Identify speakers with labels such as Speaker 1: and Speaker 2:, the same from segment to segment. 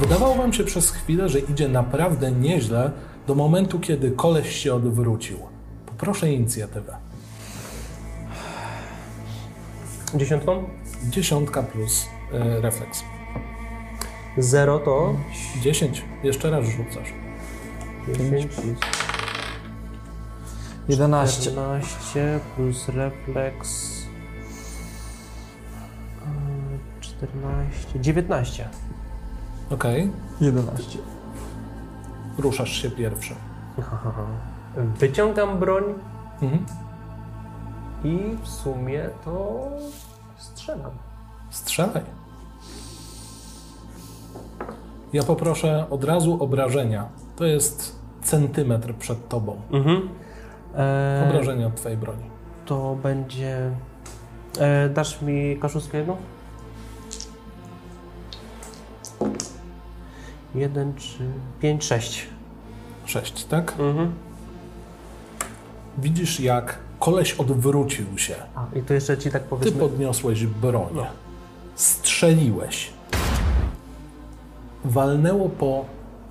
Speaker 1: Wydawało wam się przez chwilę, że idzie naprawdę nieźle do momentu, kiedy koleś się odwrócił. Poproszę inicjatywę.
Speaker 2: Dziesiątką?
Speaker 1: Dziesiątka plus y, refleks.
Speaker 2: Zero to...
Speaker 1: 10. Jeszcze raz rzucasz.
Speaker 2: 10 plus
Speaker 3: 11.
Speaker 2: 14 plus refleks... mm, 14... 19.
Speaker 1: Okej.
Speaker 3: 11.
Speaker 1: Ruszasz się pierwszy.
Speaker 2: Wyciągam broń
Speaker 1: Mhm.
Speaker 2: i w sumie to strzelam.
Speaker 1: Strzelaj. Ja poproszę od razu obrażenia. To jest centymetr przed tobą.
Speaker 2: Mhm. E,
Speaker 1: Obrażenie od twojej broni.
Speaker 2: to będzie... E, dasz mi kaszuskę jedną? Jeden, trzy, pięć, sześć.
Speaker 1: Sześć, tak?
Speaker 2: Mhm.
Speaker 1: Widzisz, jak koleś odwrócił się.
Speaker 2: A, i to jeszcze ci tak
Speaker 1: Ty
Speaker 2: powiedzmy...
Speaker 1: podniosłeś broń. Strzeliłeś. Walnęło po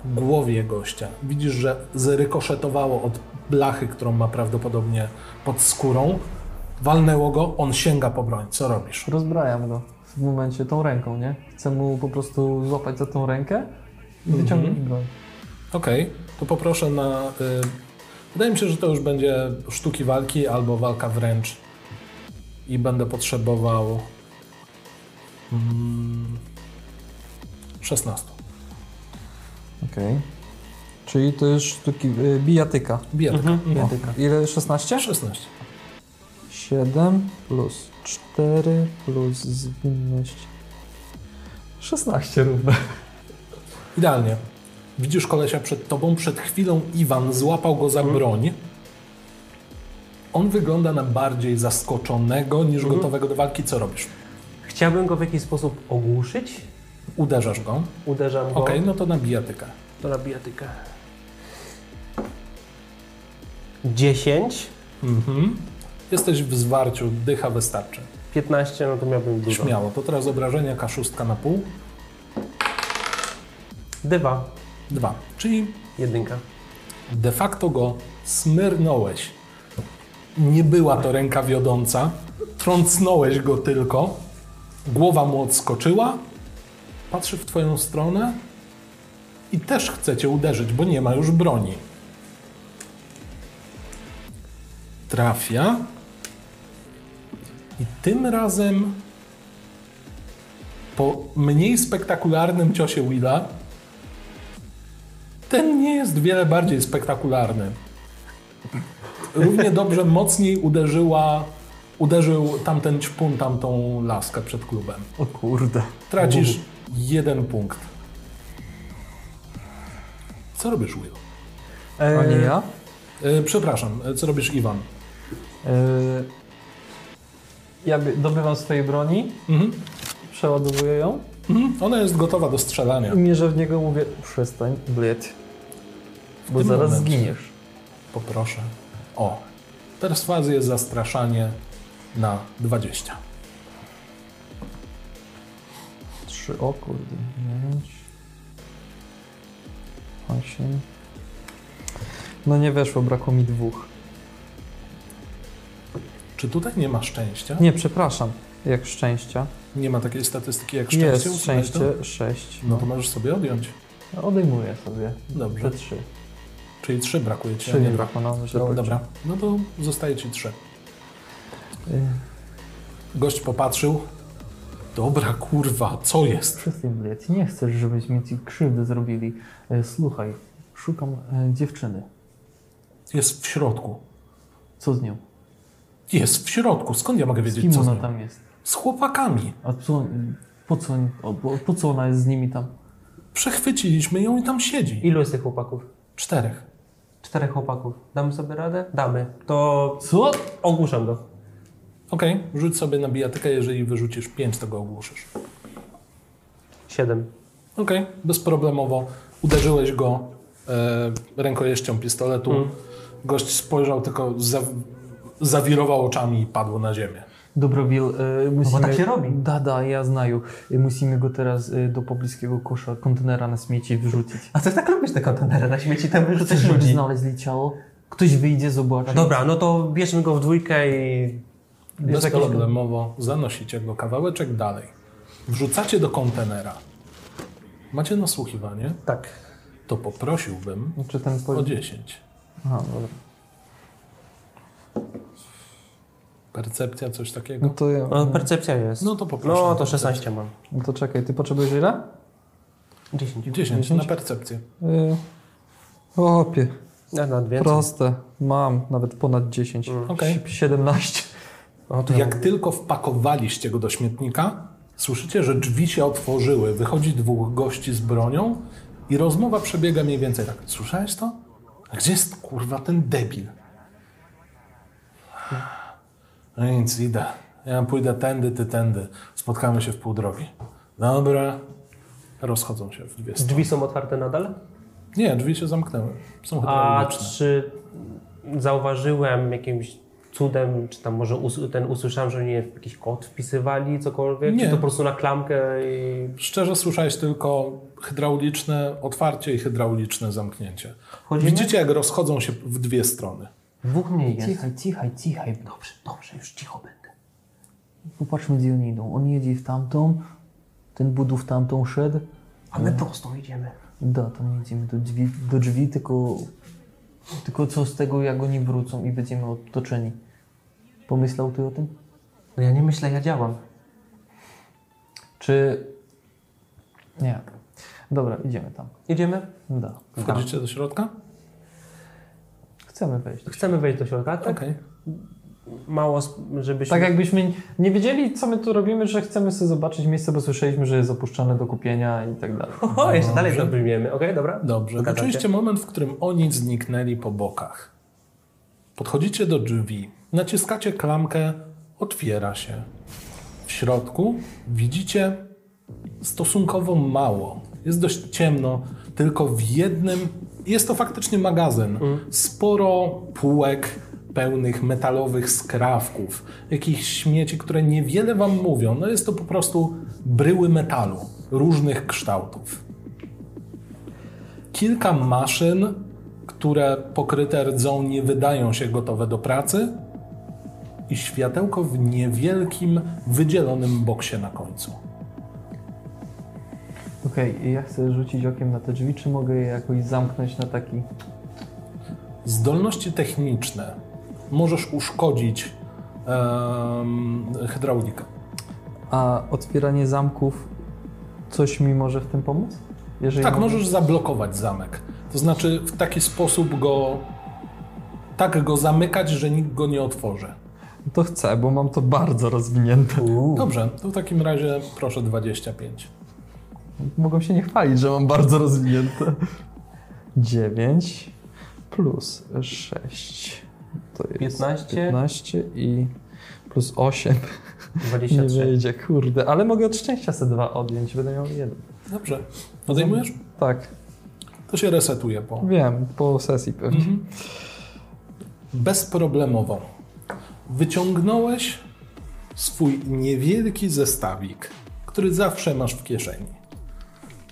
Speaker 1: głowie gościa. Widzisz, że zrykoszetowało od blachy, którą ma prawdopodobnie pod skórą. Walnęło go, on sięga po broń. Co robisz?
Speaker 3: Rozbrajam go w momencie tą ręką, nie? Chcę mu po prostu złapać za tą rękę i wyciągnąć broń.
Speaker 1: Okej, to poproszę na. Y, wydaje mi się, że to już będzie sztuki walki albo walka wręcz. I będę potrzebował. Mm, 16.
Speaker 3: Okej. Czyli to jest sztuki... y, bijatyka.
Speaker 1: Bijatyka.
Speaker 3: Bijatyka. Ile? 16?
Speaker 1: 16.
Speaker 3: 7 plus 4 plus zwinność. 16 równe.
Speaker 1: Idealnie. Widzisz kolesia przed tobą. Przed chwilą Iwan złapał go za broń. On wygląda na bardziej zaskoczonego niż gotowego do walki. Co robisz?
Speaker 2: Chciałbym go w jakiś sposób ogłuszyć.
Speaker 1: Uderzasz go.
Speaker 2: Uderzam go.
Speaker 1: Okej, no to na bijatykę.
Speaker 2: To na bijatykę. 10,
Speaker 1: Mhm. Jesteś w zwarciu, dycha wystarczy.
Speaker 2: 15, no to miałbym dużo.
Speaker 1: Śmiało, to teraz obrażenia K6 na pół.
Speaker 2: Dywa,
Speaker 1: Dwa. Czyli
Speaker 2: jedynka.
Speaker 1: de facto go smyrnąłeś. Nie była to ręka wiodąca, trącnąłeś go tylko, głowa mu odskoczyła, patrzy w twoją stronę i też chce cię uderzyć, bo nie ma już broni. Trafia i tym razem po mniej spektakularnym ciosie Willa ten nie jest wiele bardziej spektakularny. Równie dobrze mocniej uderzyła, uderzył tamten ćpun, tamtą laskę przed klubem.
Speaker 3: O kurde.
Speaker 1: Tracisz jeden punkt. Co robisz, Will?
Speaker 3: A nie ja?
Speaker 1: E, przepraszam, e, co robisz, Iwan?
Speaker 3: E, Ja by- dobywam swojej broni,
Speaker 1: Mhm.
Speaker 3: przeładowuję ją
Speaker 1: Mhm. Ona jest gotowa do strzelania.
Speaker 3: i mierzę w niego mówię, przestań, bled, bo
Speaker 1: tym
Speaker 3: zaraz
Speaker 1: momencie.
Speaker 3: zginiesz.
Speaker 1: Poproszę. O, perswazję jest zastraszanie na 20.
Speaker 3: Trzy, o kurde, pięć, osiem. No nie weszło, brakło mi dwóch.
Speaker 1: Czy tutaj nie ma szczęścia?
Speaker 3: Nie, przepraszam, jak szczęścia.
Speaker 1: Nie ma takiej statystyki jak szczęście?
Speaker 3: Jest
Speaker 1: Usunąłeś to?
Speaker 3: szczęście, sześć.
Speaker 1: No to możesz sobie odjąć.
Speaker 3: Odejmuję sobie.
Speaker 1: Dobrze.
Speaker 3: Te trzy.
Speaker 1: Czyli trzy brakuje ci. a
Speaker 3: Trzy nie
Speaker 1: dwa.
Speaker 3: brakło, no
Speaker 1: No,
Speaker 3: myślę.
Speaker 1: Dobra, no to zostaje ci trzy. Gość popatrzył. Dobra, kurwa, co jest?
Speaker 3: Przestań, bled, nie chcesz, żebyśmy ci krzywdę zrobili. E, Słuchaj, szukam e, dziewczyny.
Speaker 1: Jest w środku.
Speaker 3: Co z nią?
Speaker 1: Jest w środku. Skąd ja mogę
Speaker 3: Z
Speaker 1: wiedzieć,
Speaker 3: kim
Speaker 1: co z
Speaker 3: ona
Speaker 1: nią?
Speaker 3: tam jest?
Speaker 1: Z chłopakami.
Speaker 3: A co, po, co, oni- o, po, po co ona jest z nimi tam?
Speaker 1: Przechwyciliśmy ją i tam siedzi.
Speaker 2: Ilu jest tych chłopaków?
Speaker 1: Czterech.
Speaker 2: Czterech chłopaków. Damy sobie radę? Damy. To
Speaker 3: Co?
Speaker 2: ogłuszam go.
Speaker 1: Okej, rzuć sobie na bijatykę, jeżeli wyrzucisz pięć, to go ogłuszysz.
Speaker 2: Siedem.
Speaker 1: Okej, bezproblemowo. Uderzyłeś go e, rękojeścią Mm. pistoletu. Gość spojrzał, tylko za, zawirował oczami i padł na ziemię.
Speaker 3: Dobrowil, y, musimy...
Speaker 2: tak się robi.
Speaker 3: Da, da, ja znaju. Y, musimy go teraz y, do pobliskiego kosza kontenera na śmieci wrzucić.
Speaker 4: A ty tak lubisz te kontenery na śmieci, tam wyrzucasz
Speaker 3: Chcesz, żeby
Speaker 4: ludzi.
Speaker 3: znaleźli ciało? Ktoś wyjdzie, zobaczy.
Speaker 2: Dobra, no to bierzmy go w dwójkę i...
Speaker 1: Bezproblemowo zanosicie go kawałeczek dalej. Wrzucacie do kontenera. Macie nasłuchiwanie?
Speaker 2: Tak.
Speaker 1: To poprosiłbym
Speaker 3: Czy Znaczy
Speaker 1: o
Speaker 3: ten po...
Speaker 1: 10.
Speaker 3: Aha, dobra.
Speaker 1: Percepcja, coś takiego.
Speaker 3: No to ja...
Speaker 2: No, percepcja jest.
Speaker 1: No to poproszę.
Speaker 2: No to 16 mam.
Speaker 3: No to czekaj, ty potrzebujesz ile?
Speaker 2: 10.
Speaker 1: 10 na percepcję.
Speaker 3: Y... Opie,
Speaker 2: Ja na dwie.
Speaker 3: proste. Mam nawet ponad 10.
Speaker 1: Okej.
Speaker 3: 17.
Speaker 2: No to
Speaker 1: Jak tylko wpakowaliście go do śmietnika, słyszycie, że drzwi się otworzyły. Wychodzi dwóch gości z bronią i rozmowa przebiega mniej więcej tak. Słyszałeś to? A Gdzie jest kurwa ten debil? No nic, idę. Ja pójdę tędy, ty tędy. Spotkamy się w pół drogi. Dobra. Rozchodzą się w dwie strony.
Speaker 2: Drzwi są otwarte nadal?
Speaker 1: Nie, drzwi się zamknęły. Są
Speaker 2: A
Speaker 1: hydrauliczne.
Speaker 2: czy zauważyłem jakimś cudem, czy tam może us- ten usłyszałem, że oni jakiś kod wpisywali, cokolwiek?
Speaker 1: Nie.
Speaker 2: Czy to po prostu na klamkę i...
Speaker 1: Szczerze słyszałeś tylko hydrauliczne otwarcie i hydrauliczne zamknięcie.
Speaker 2: Wchodzimy?
Speaker 1: Widzicie, jak rozchodzą się w dwie strony.
Speaker 2: Dwóch mnie jest.
Speaker 3: Cichaj, cichaj, cichaj.
Speaker 2: Dobrze, dobrze, już cicho będę.
Speaker 3: Popatrzmy, gdzie oni idą. On jedzie w tamtą, ten budu w tamtą szedł.
Speaker 2: A my prosto idziemy.
Speaker 3: Da, tam jedziemy do drzwi, do drzwi tylko, tylko co z tego, jak oni wrócą i będziemy otoczeni. Pomyślał ty o tym?
Speaker 2: No ja nie myślę, ja działam.
Speaker 3: Czy... Nie. Dobra, idziemy tam.
Speaker 2: Idziemy?
Speaker 3: Da.
Speaker 2: Tak.
Speaker 1: Wchodzicie do środka?
Speaker 3: Chcemy wejść.
Speaker 2: Chcemy wejść do środka,
Speaker 1: Okej.
Speaker 2: tak? Mało, sp- żebyśmy...
Speaker 3: Tak jakbyśmy nie wiedzieli, co my tu robimy, że chcemy sobie zobaczyć miejsce, bo słyszeliśmy, że jest opuszczone do kupienia i tak dalej.
Speaker 2: Oho, jeszcze dalej to brzmiemy, okej, dobra?
Speaker 1: Dobrze.
Speaker 2: Zgadza się.
Speaker 1: Oczywiście moment, w którym oni zniknęli po bokach. Podchodzicie do drzwi, naciskacie klamkę, otwiera się. W środku widzicie stosunkowo mało. Jest dość ciemno, tylko w jednym. Jest to faktycznie magazyn. Sporo półek pełnych metalowych skrawków, jakichś śmieci, które niewiele wam mówią. No jest to po prostu bryły metalu różnych kształtów kilka maszyn, które pokryte rdzą nie wydają się gotowe do pracy i światełko w niewielkim, wydzielonym boksie na końcu.
Speaker 3: Okej, i ja chcę rzucić okiem na te drzwi, czy mogę je jakoś zamknąć na taki...
Speaker 1: Zdolności techniczne możesz uszkodzić em, hydraulikę.
Speaker 3: A otwieranie zamków, coś mi może w tym pomóc? Jeżeli
Speaker 1: Tak,
Speaker 3: mam-
Speaker 1: możesz zablokować zamek. To znaczy w taki sposób go tak go zamykać, że nikt go nie otworzy.
Speaker 3: To chcę, bo mam to bardzo rozwinięte. No,
Speaker 1: Dobrze, to w takim razie proszę 25.
Speaker 3: Mogą się nie chwalić, że mam bardzo rozwinięte. 9 plus 6 to jest
Speaker 2: 15.
Speaker 3: 15 i plus 8 nie
Speaker 2: 23.
Speaker 3: wyjdzie, kurde. Ale mogę od szczęścia se dwa odjąć, będę miał jeden.
Speaker 1: Dobrze. Odejmujesz?
Speaker 3: Tak,
Speaker 1: To się resetuje po.
Speaker 3: wiem, po sesji pewnie.
Speaker 2: Mhm.
Speaker 1: bezproblemowo. Wyciągnąłeś swój niewielki zestawik, który zawsze masz w kieszeni.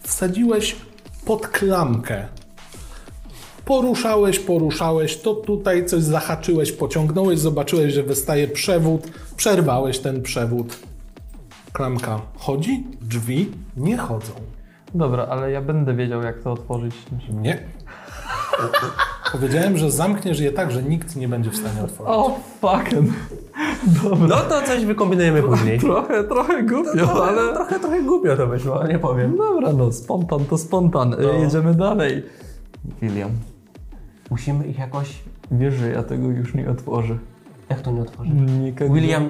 Speaker 1: Wsadziłeś pod klamkę. Poruszałeś, poruszałeś, to tutaj coś zahaczyłeś, pociągnąłeś, zobaczyłeś, że wystaje przewód, przerwałeś ten przewód. Klamka chodzi, drzwi nie chodzą.
Speaker 3: Dobra, ale ja będę wiedział, jak to otworzyć.
Speaker 1: Nie. Powiedziałem, że zamkniesz je tak, że nikt nie będzie w stanie otworzyć.
Speaker 3: O, oh, fucking. Dobra.
Speaker 2: No to coś wykombinujemy później.
Speaker 3: Trochę, trochę głupio, No, ale...
Speaker 2: No, Trochę, trochę głupio to wyszło, nie powiem.
Speaker 3: Dobra, no spontan to spontan.
Speaker 2: No.
Speaker 3: Y, Jedziemy dalej. William,
Speaker 2: Musimy ich jakoś...
Speaker 3: wiesz, że ja tego już nie otworzę.
Speaker 2: Jak to nie otworzyć?
Speaker 3: Nikogo.
Speaker 2: William,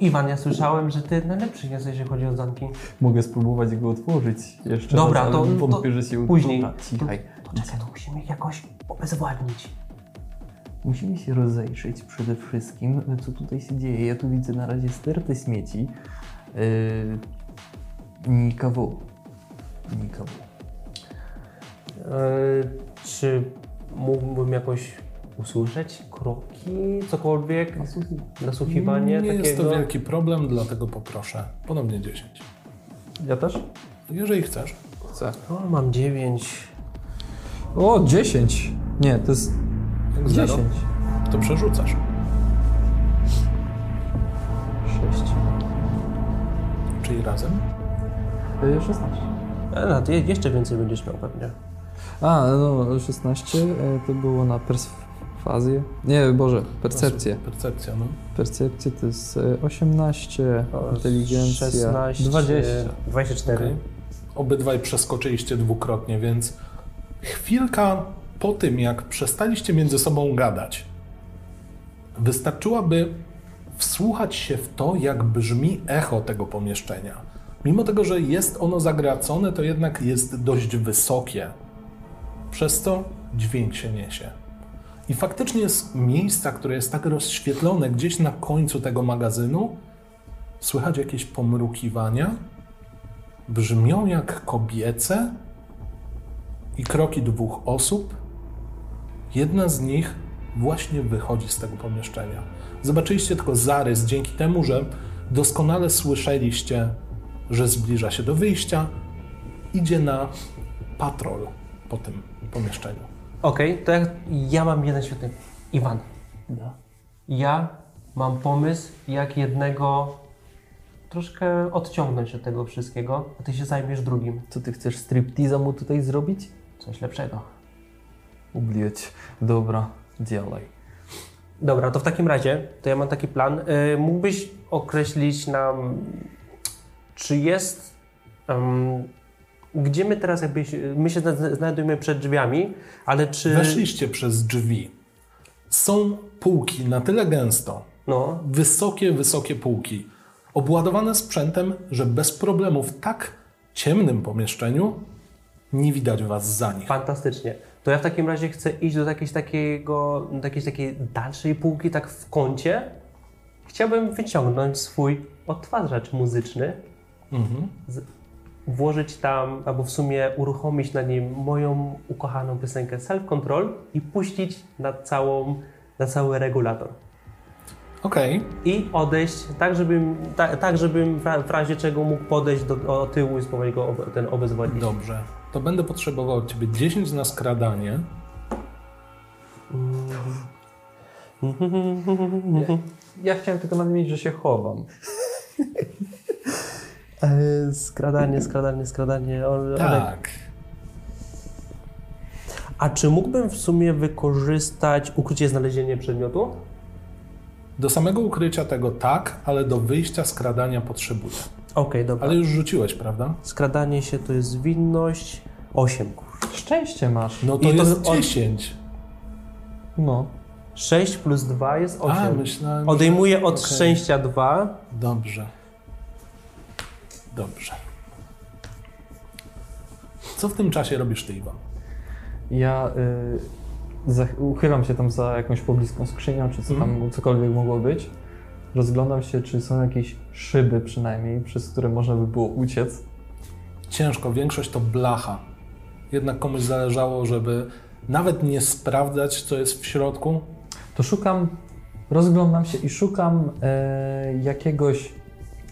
Speaker 2: Iwan, ja słyszałem, że ty najlepszy jesteś, jeżeli chodzi o zamki.
Speaker 3: Mogę spróbować go otworzyć jeszcze
Speaker 2: Dobra,
Speaker 3: raz,
Speaker 2: to-
Speaker 3: ale wątpię,
Speaker 2: to
Speaker 3: że się uda.
Speaker 2: później.
Speaker 3: Dobra, Cichaj.
Speaker 2: To czekaj, to musimy ich jakoś obezwładnić.
Speaker 3: Musimy się rozejrzeć przede wszystkim, co tutaj się dzieje. Ja tu widzę na razie stertę śmieci. Yy, nikogo. Nikogo.
Speaker 2: czy E, mógłbym jakoś usłyszeć kroki, cokolwiek, nasłuchiwanie
Speaker 1: Nie jest to
Speaker 2: takiego.
Speaker 1: wielki problem, dlatego poproszę ponownie 10.
Speaker 3: Ja też?
Speaker 1: Jeżeli chcesz.
Speaker 3: Chcę.
Speaker 2: O, No, mam dziewięć.
Speaker 3: O, 10! Nie, to jest
Speaker 1: Jak
Speaker 3: 10.
Speaker 1: zero, to przerzucasz.
Speaker 3: 6.
Speaker 1: Czyli razem.
Speaker 3: 16.
Speaker 2: E, no, to je- jeszcze więcej będziesz miał pewnie.
Speaker 3: A, no 16 e, to było na perswazję. Nie, Boże, percepcję.
Speaker 1: Percepcja, no.
Speaker 3: Percepcję to jest e, 18,
Speaker 2: O,
Speaker 3: inteligencja
Speaker 2: 16,
Speaker 3: 20.
Speaker 2: 24.
Speaker 1: Okej. Obydwaj przeskoczyliście dwukrotnie, więc chwilka po tym, jak przestaliście między sobą gadać, wystarczyłaby wsłuchać się w to, jak brzmi echo tego pomieszczenia. Mimo tego, że jest ono zagracone, to jednak jest dość wysokie, przez co dźwięk się niesie. I faktycznie z miejsca, które jest tak rozświetlone gdzieś na końcu tego magazynu, słychać jakieś pomrukiwania, brzmią jak kobiece i kroki dwóch osób. Jedna z nich właśnie wychodzi z tego pomieszczenia. Zobaczyliście tylko zarys dzięki temu, że doskonale słyszeliście, że zbliża się do wyjścia, idzie na patrol po tym pomieszczeniu.
Speaker 2: Okej, to jak, ja mam jeden świetny. Iwan. Ja mam pomysł, jak jednego troszkę odciągnąć od tego wszystkiego, a ty się zajmiesz drugim.
Speaker 4: Co ty chcesz striptiza mu tutaj zrobić?
Speaker 2: Coś lepszego.
Speaker 3: Ublieć. Dobra, działaj.
Speaker 2: Dobra, to w takim razie, to ja mam taki plan. Y, mógłbyś określić nam, czy jest. em, gdzie my teraz jakby. się- My się zna- znajdujemy przed drzwiami, ale czy.
Speaker 1: Weszliście przez drzwi. Są półki na tyle gęsto,
Speaker 2: No,
Speaker 1: wysokie, wysokie półki, obładowane sprzętem, że bez problemu w tak ciemnym pomieszczeniu nie widać was za nich.
Speaker 2: Fantastycznie. To ja w takim razie chcę iść do jakiejś takiego, do jakiejś takiej dalszej półki, tak w kącie. Chciałbym wyciągnąć swój odtwarzacz muzyczny,
Speaker 1: Mhm.
Speaker 2: z, włożyć tam, albo w sumie uruchomić na nim moją ukochaną piosenkę Self Control i puścić na, całą, na cały regulator.
Speaker 1: Okej,
Speaker 2: I odejść, tak żebym, ta, tak żebym w ra- w razie czego mógł podejść do o tyłu i spróbować go obe, ten obezwładnić.
Speaker 1: dobrze. To będę potrzebował od ciebie 10 na skradanie.
Speaker 3: Ja chciałem tylko nadmienić, że się chowam.
Speaker 2: E, Skradanie, skradanie, skradanie. Ole, ole.
Speaker 1: Tak.
Speaker 2: A czy mógłbym w sumie wykorzystać ukrycie znalezienie przedmiotu?
Speaker 1: Do samego ukrycia tego tak, ale do wyjścia skradania potrzebuję.
Speaker 2: Okej, dobra.
Speaker 1: Ale już rzuciłeś, prawda?
Speaker 2: Skradanie się to jest winność 8.
Speaker 3: Szczęście masz.
Speaker 1: No to
Speaker 2: I to
Speaker 1: jest
Speaker 2: od-
Speaker 1: 10.
Speaker 3: No.
Speaker 2: 6 plus 2 jest
Speaker 1: A,
Speaker 2: 8.
Speaker 1: myślałem, że...
Speaker 2: Odejmuję od
Speaker 1: Okej.
Speaker 2: szczęścia 2.
Speaker 1: Dobrze. Dobrze. Co w tym czasie robisz ty, Iwan?
Speaker 3: Ja y, za, uchylam się tam za jakąś pobliską skrzynią, czy co tam cokolwiek mogło być. Rozglądam się, czy są jakieś szyby przynajmniej, przez które można by było uciec.
Speaker 1: ciężko, większość to blacha. Jednak komuś zależało, żeby nawet nie sprawdzać, co jest w środku.
Speaker 3: To szukam, rozglądam się i szukam e, jakiegoś,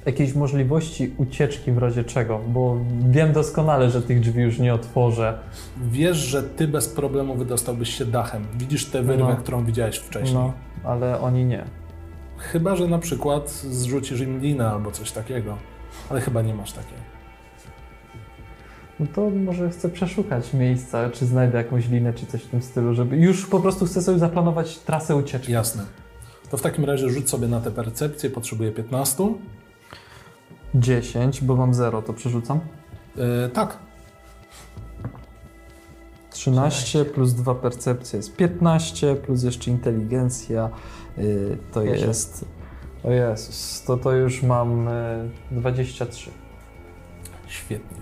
Speaker 3: jakiejś możliwości ucieczki w razie czego, bo wiem doskonale, że tych drzwi już nie otworzę.
Speaker 1: Wiesz, że ty bez problemu wydostałbyś się dachem. Widzisz tę wyrwę,
Speaker 3: No.
Speaker 1: którą widziałeś wcześniej.
Speaker 3: No, ale oni nie.
Speaker 1: Chyba, że na przykład zrzucisz im linę albo coś takiego. Ale chyba nie masz takiej.
Speaker 3: No to może chcę przeszukać miejsca, czy znajdę jakąś linę, czy coś w tym stylu, żeby już po prostu chcę sobie zaplanować trasę ucieczki.
Speaker 1: Jasne. To w takim razie rzuć sobie na tę percepcję. Potrzebuję 15.
Speaker 3: 10, bo mam 0, to przerzucam.
Speaker 1: Yy, tak,
Speaker 3: 13 plus 2 percepcja jest 15, plus jeszcze inteligencja y, to
Speaker 2: Jeszcze.
Speaker 3: jest. O Jezus, to, to już mam y, 23.
Speaker 1: świetnie.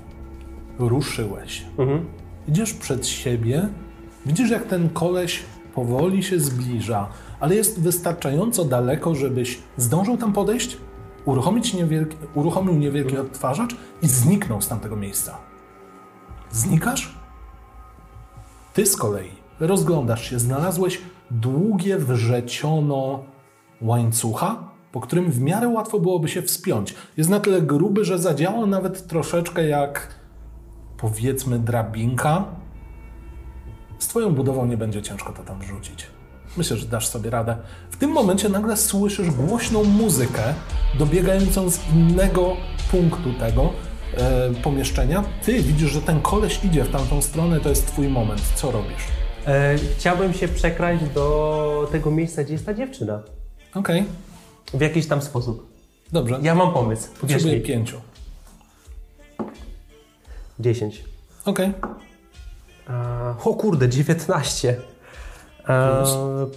Speaker 1: Ruszyłeś.
Speaker 2: Mhm.
Speaker 1: Idziesz przed siebie, widzisz jak ten koleś powoli się zbliża, ale jest wystarczająco daleko, żebyś zdążył tam podejść, uruchomić niewielki, uruchomił niewielki odtwarzacz i zniknął z tamtego miejsca. Znikasz? Ty z kolei rozglądasz się, znalazłeś długie wrzeciono łańcucha, po którym w miarę łatwo byłoby się wspiąć. Jest na tyle gruby, że zadziałał nawet troszeczkę jak powiedzmy drabinka. Z twoją budową nie będzie ciężko to tam rzucić. Myślę, że dasz sobie radę. W tym momencie nagle słyszysz głośną muzykę dobiegającą z innego punktu tego e, pomieszczenia. Ty widzisz, że ten koleś idzie w tamtą stronę, to jest twój moment. Co robisz?
Speaker 2: E, chciałbym się przekraść do tego miejsca, gdzie jest ta dziewczyna.
Speaker 1: Okej,
Speaker 2: W jakiś tam sposób.
Speaker 1: dobrze.
Speaker 2: Ja mam pomysł. Uwierz
Speaker 1: Potrzebuję
Speaker 2: mi.
Speaker 1: pięciu.
Speaker 2: 10.
Speaker 1: Okej,
Speaker 2: E, o kurde, 19. E,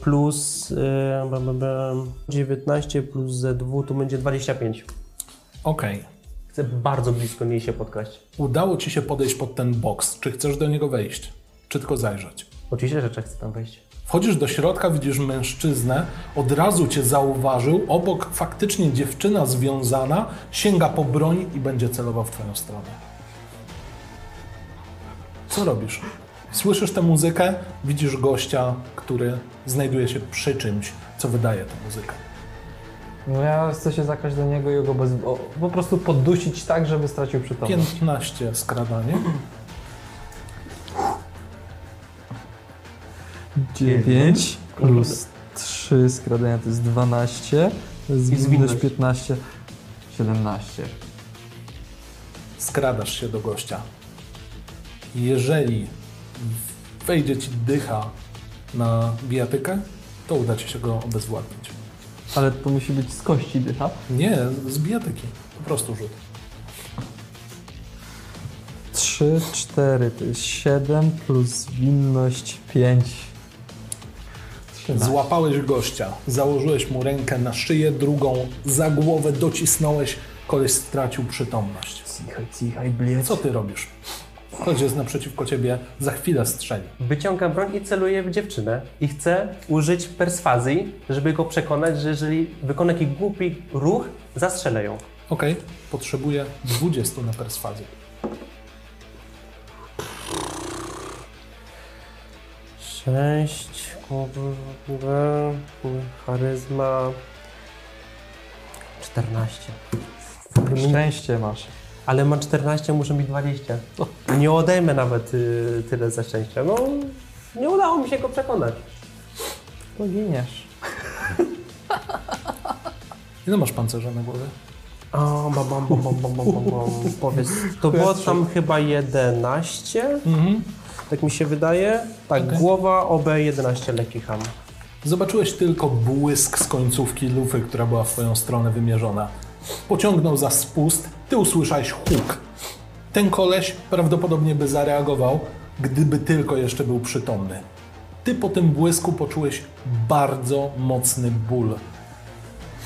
Speaker 2: plus e, bam, bam, bam, 19 plus Z2 to będzie 25.
Speaker 1: okej.
Speaker 2: Chcę bardzo blisko niej się podkraść.
Speaker 1: Udało ci się podejść pod ten boks. Czy chcesz do niego wejść? Czy tylko zajrzeć?
Speaker 2: Oczywiście, że chcę tam wejść.
Speaker 1: Wchodzisz do środka, widzisz mężczyznę, od razu cię zauważył, obok faktycznie dziewczyna związana, sięga po broń i będzie celował w twoją stronę. Co robisz? Słyszysz tę muzykę, widzisz gościa, który znajduje się przy czymś, co wydaje tę muzykę.
Speaker 3: No ja chcę się zakraść do niego i go bez... o, po prostu poddusić tak, żeby stracił przytomność.
Speaker 1: 15 skradanie.
Speaker 3: 9 plus 3 skradania to jest 12.
Speaker 2: I zwinność.
Speaker 3: Zwinność 15. 17.
Speaker 1: skradasz się do gościa. Jeżeli wejdzie ci dycha na bijatykę, to uda ci się go obezwładnić.
Speaker 3: Ale to musi być z kości dycha.
Speaker 1: Nie, z bijatyki. Po prostu rzut.
Speaker 3: 3, 4 to jest 7 plus zwinność 5.
Speaker 1: Złapałeś gościa, założyłeś mu rękę na szyję, drugą za głowę docisnąłeś, koleś stracił przytomność.
Speaker 3: Cichaj, cichaj, bliec.
Speaker 1: Co ty robisz? Koleś jest naprzeciwko ciebie, za chwilę strzeli.
Speaker 2: Wyciągam broń i celuję w dziewczynę. I chcę użyć perswazji, żeby go przekonać, że jeżeli wykona jakiś głupi ruch, zastrzelę ją.
Speaker 1: Okej, potrzebuję 20 na perswazję.
Speaker 2: 6, kurwa, charyzma, 14.
Speaker 3: Szczęście masz.
Speaker 2: Ale mam 14, muszę mieć 20. Nie odejmę nawet y, tyle za szczęścia. No, nie udało mi się go przekonać.
Speaker 3: Poginiesz.
Speaker 1: Ile masz pancerza na głowie?
Speaker 2: A, bam, bam, bam, bam, bam, bam, bam. Powiedz, to było tam chyba 11,
Speaker 1: Mhm.
Speaker 2: tak mi się wydaje. Tak,
Speaker 1: Okej.
Speaker 2: głowa OB 11 lekki ham.
Speaker 1: Zobaczyłeś tylko błysk z końcówki lufy, która była w twoją stronę wymierzona. Pociągnął za spust, ty usłyszałeś huk. Ten koleś prawdopodobnie by zareagował, gdyby tylko jeszcze był przytomny. Ty po tym błysku poczułeś bardzo mocny ból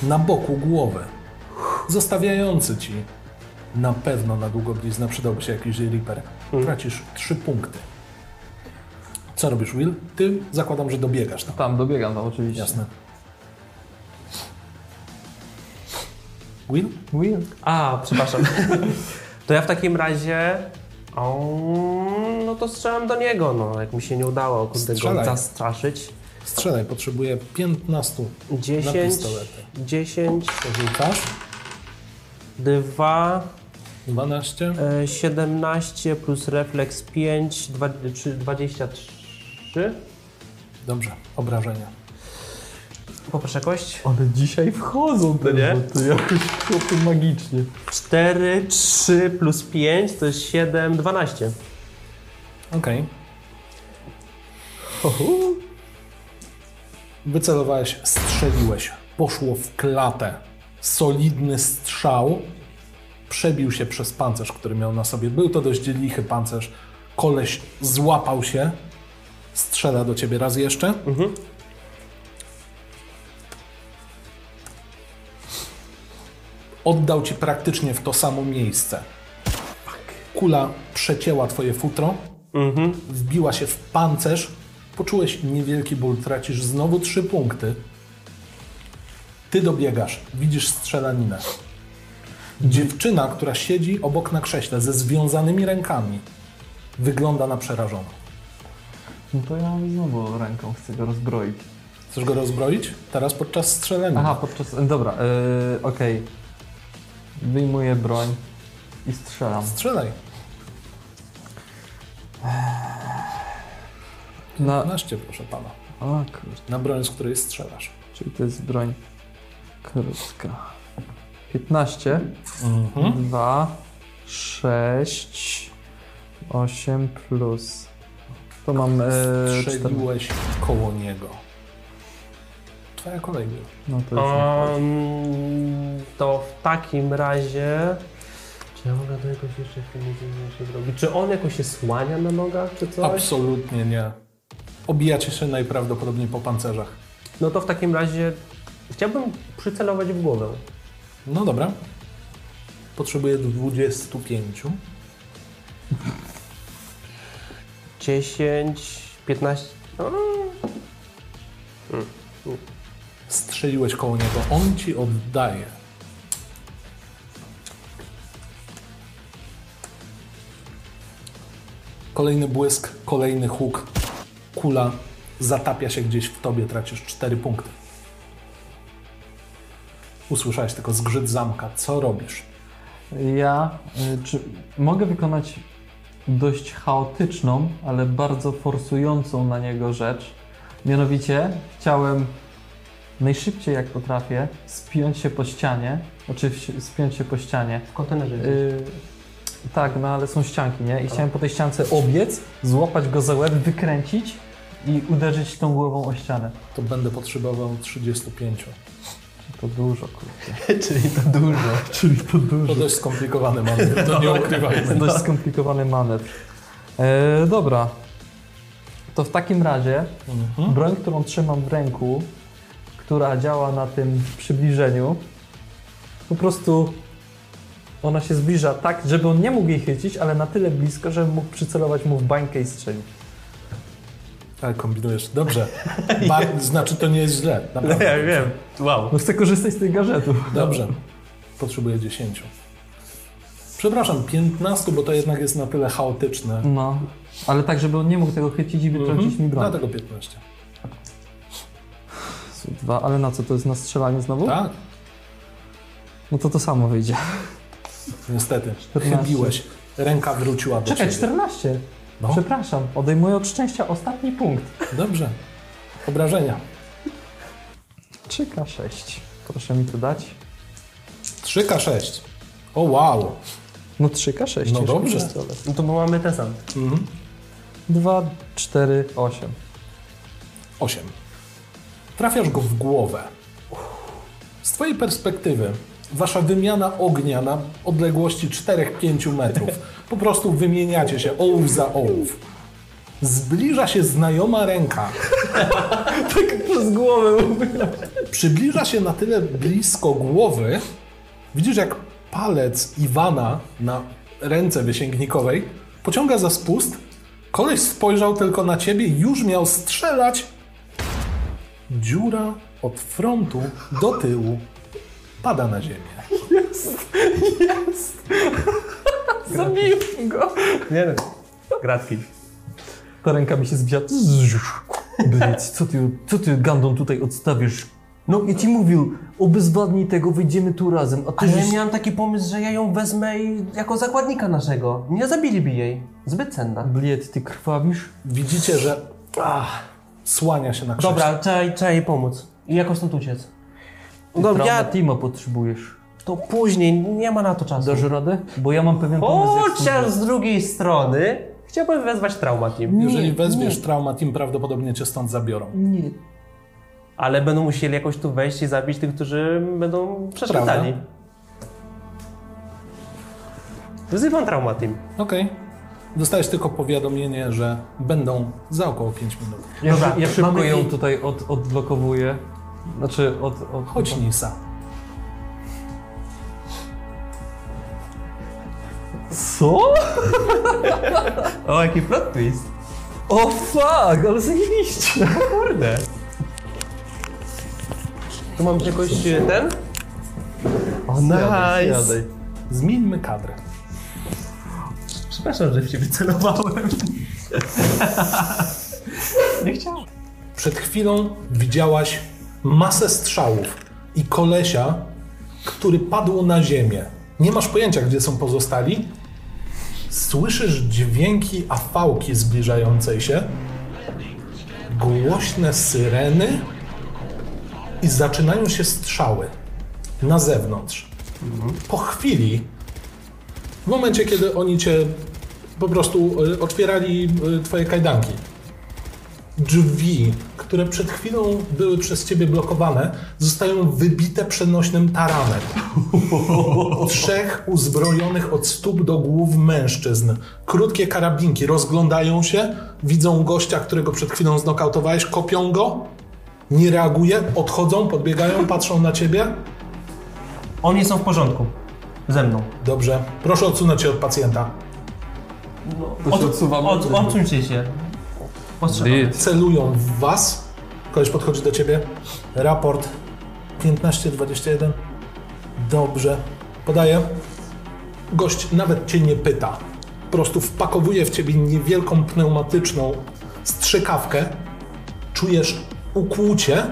Speaker 1: na boku głowy, zostawiający ci na pewno na długobliznę przydałby się jakiś reaper. Tracisz trzy punkty. Co robisz, Will? Ty zakładam, że dobiegasz tak? tam.
Speaker 3: Tam, dobiegam tam oczywiście.
Speaker 1: Jasne. Will?
Speaker 3: Will.
Speaker 2: A, przepraszam. to ja w takim razie. O, no to strzelam do niego, no jak mi się nie udało kurde, go
Speaker 1: Strzelaj.
Speaker 2: zastraszyć.
Speaker 1: Strzelaj, potrzebuję 15.
Speaker 2: 10,
Speaker 1: pistolety.
Speaker 2: 10,
Speaker 1: Rzucasz?
Speaker 2: 2,
Speaker 1: 12.
Speaker 2: e, 17 plus refleks 5, 23.
Speaker 1: Dobrze, obrażenia.
Speaker 2: Poproszę kość.
Speaker 3: One dzisiaj wchodzą te
Speaker 2: nie?
Speaker 3: rzuty, jakoś chłopy magicznie.
Speaker 2: 4, 3 plus 5 to jest 7, 12.
Speaker 1: Okej. Wycelowałeś, strzeliłeś. Poszło w klatę. Solidny strzał. Przebił się przez pancerz, który miał na sobie. Był to dość lichy pancerz. Koleś złapał się. Strzela do ciebie raz jeszcze.
Speaker 2: Mhm.
Speaker 1: Oddał ci praktycznie w to samo miejsce. Kula przecięła twoje futro,
Speaker 2: Mhm.
Speaker 1: wbiła się w pancerz, poczułeś niewielki ból, tracisz znowu trzy punkty. Ty dobiegasz, widzisz strzelaninę. Dziewczyna, która siedzi obok na krześle ze związanymi rękami, wygląda na przerażoną.
Speaker 3: No to ja znowu ręką chcę go rozbroić.
Speaker 1: Chcesz go rozbroić? Teraz podczas strzelania.
Speaker 3: Aha, podczas... e, Dobra, yy, okej. Wyjmuję broń i strzelam.
Speaker 1: Strzelaj.
Speaker 3: Na...
Speaker 1: 12, proszę pana.
Speaker 3: O kurczę,
Speaker 1: Na broń, z której strzelasz.
Speaker 3: czyli to jest broń krótka. 15,
Speaker 1: Mhm.
Speaker 3: 2, 6, 8 plus... To mam e, 4.
Speaker 1: Strzeliłeś koło niego. Twoja kolejna.
Speaker 3: No to już...
Speaker 2: Um, to w takim razie. Czy ja mogę do jakoś jeszcze w tym się zrobić? Czy on jakoś się słania na nogach, czy coś?
Speaker 1: Absolutnie nie. Obijacie się najprawdopodobniej po pancerzach.
Speaker 2: No to w takim razie chciałbym przycelować w głowę.
Speaker 1: No dobra. Potrzebuję 25.
Speaker 2: 10, 15. No,
Speaker 1: Strzeliłeś koło niego. On ci oddaje. Kolejny błysk, kolejny huk. Kula zatapia się gdzieś w tobie, tracisz 4 punkty. Usłyszałeś tylko zgrzyt zamka. Co robisz?
Speaker 3: Ja y, czy mogę wykonać dość chaotyczną, ale bardzo forsującą na niego rzecz. Mianowicie chciałem najszybciej jak potrafię spiąć się po ścianie. Oczywiście spiąć się po ścianie.
Speaker 2: w kontenerze.
Speaker 3: Y, tak, no ale są ścianki, nie? I chciałem po tej ściance obiec, złapać go za łeb, wykręcić i uderzyć tą głową o ścianę.
Speaker 1: To będę potrzebował 35.
Speaker 3: To dużo, kurde.
Speaker 2: Czyli to dużo.
Speaker 3: Czyli to dużo.
Speaker 1: To dość skomplikowany manewr, to nie ukrywajmy.
Speaker 3: Dość skomplikowany manewr. E, dobra. To w takim razie
Speaker 1: Mhm.
Speaker 3: broń, którą trzymam w ręku, która działa na tym przybliżeniu, po prostu ona się zbliża tak, żeby on nie mógł jej chycić, ale na tyle blisko, żeby mógł przycelować mu w bańkę i strzelić.
Speaker 1: Tak, kombinujesz. Dobrze. Ba- znaczy, to nie jest źle. Naprawdę.
Speaker 2: wiem. Wow.
Speaker 3: No chcę korzystać z tych gadżetów.
Speaker 1: Dobrze. Potrzebuję 10. Przepraszam, 15, bo to jednak jest na tyle chaotyczne.
Speaker 3: No, ale tak, żeby on nie mógł tego chycić
Speaker 2: Mhm.
Speaker 3: i wytrącić mi
Speaker 2: No
Speaker 3: broń.
Speaker 2: tak.
Speaker 1: Dlatego 15.
Speaker 3: Są Dwa, ale na co, to jest na strzelanie znowu?
Speaker 1: Tak,
Speaker 3: No to to samo wyjdzie.
Speaker 1: niestety.
Speaker 3: 14.
Speaker 1: Chybiłeś. Ręka wróciła do
Speaker 3: Czekaj,
Speaker 1: ciebie.
Speaker 3: 14.
Speaker 1: No.
Speaker 3: Przepraszam, odejmuję od szczęścia ostatni punkt.
Speaker 1: Dobrze. Obrażenia.
Speaker 3: 3K6. Proszę mi to dać.
Speaker 1: 3K6. O wow.
Speaker 3: No 3K6.
Speaker 1: No dobrze.
Speaker 2: No to bo mamy ten sam.
Speaker 3: 2, 4, 8.
Speaker 1: 8. Trafiasz go w głowę. Z twojej perspektywy, wasza wymiana ognia na odległości 4-5 metrów. Po prostu wymieniacie się ołów za ołów. Zbliża się znajoma ręka.
Speaker 3: Tak Przez głowę.
Speaker 1: Przybliża się na tyle blisko głowy. Widzisz, jak palec Iwana na ręce wysięgnikowej pociąga za spust. Koleś spojrzał tylko na ciebie, już miał strzelać. Dziura od frontu do tyłu pada na ziemię.
Speaker 3: Zabiłem go.
Speaker 2: Nie wiem. Gratki.
Speaker 3: Ta ręka mi się zbija. Bryc, co ty, co ty Gandon tutaj odstawisz? No i ci mówił, obezwładnij tego, wyjdziemy tu razem, a ty
Speaker 2: Ale
Speaker 3: żeś...
Speaker 2: ja miałam taki pomysł, że ja ją wezmę i jako zakładnika naszego. Nie zabiliby jej. Zbyt cenna.
Speaker 3: Bliet, ty krwawisz?
Speaker 1: Widzicie, że ach, słania się na krzyż.
Speaker 2: Dobra, trzeba, trzeba jej pomóc. I jakoś stąd uciec. No
Speaker 3: Trauma
Speaker 2: ja
Speaker 3: Tima potrzebujesz.
Speaker 2: to później, nie ma na to czasu.
Speaker 3: Dasz radę? Bo ja mam pewien pomysł. jak stąd
Speaker 2: Chociaż z drugiej strony chciałbym wezwać traumatim,
Speaker 1: Jeżeli wezmiesz trauma, tym prawdopodobnie cię stąd zabiorą.
Speaker 3: Nie.
Speaker 2: ale będą musieli jakoś tu wejść i zabić tych, którzy będą przeszkadzali.
Speaker 1: Prawda.
Speaker 2: Wzywam traumatim.
Speaker 1: Okej. Dostałeś tylko powiadomienie, że będą za około 5 minut.
Speaker 3: Ja,
Speaker 2: Dobra,
Speaker 3: ja szybko
Speaker 2: mamy
Speaker 3: ją
Speaker 2: i-
Speaker 3: tutaj od, odblokowuję. Znaczy od... od
Speaker 1: Chodź Nisa.
Speaker 3: Co?
Speaker 2: O, jaki plot twist.
Speaker 3: O fuck, ale zajebiście.
Speaker 2: Kurde. Tu mam jakoś e, ten?
Speaker 3: O,
Speaker 2: nice.
Speaker 1: Zmieńmy kadrę.
Speaker 2: Przepraszam, że w ciebie celowałem. Nie chciałem.
Speaker 1: Przed chwilą widziałaś masę strzałów i kolesia, który padł na ziemię. Nie masz pojęcia, gdzie są pozostali. Słyszysz dźwięki afałki zbliżającej się, głośne syreny i zaczynają się strzały na zewnątrz. Po chwili, w momencie, kiedy oni cię po prostu y, otwierali y, twoje kajdanki, drzwi, które przed chwilą były przez ciebie blokowane, zostają wybite przenośnym taranem. Trzech uzbrojonych od stóp do głów mężczyzn. Krótkie karabinki rozglądają się, widzą gościa, którego przed chwilą znokautowałeś, kopią go, nie reaguje, odchodzą, podbiegają, patrzą na ciebie.
Speaker 2: Oni są w porządku. Ze mną.
Speaker 1: Dobrze, proszę odsunąć się od pacjenta.
Speaker 3: To się odsuwamy.
Speaker 2: Od, odsuńcie się. Ostrzegam.
Speaker 1: Celują w was. Koleś podchodzi do ciebie. Raport 1521. Dobrze. Podaję. Gość nawet cię nie pyta. Po prostu wpakowuje w ciebie niewielką pneumatyczną strzykawkę. Czujesz ukłucie.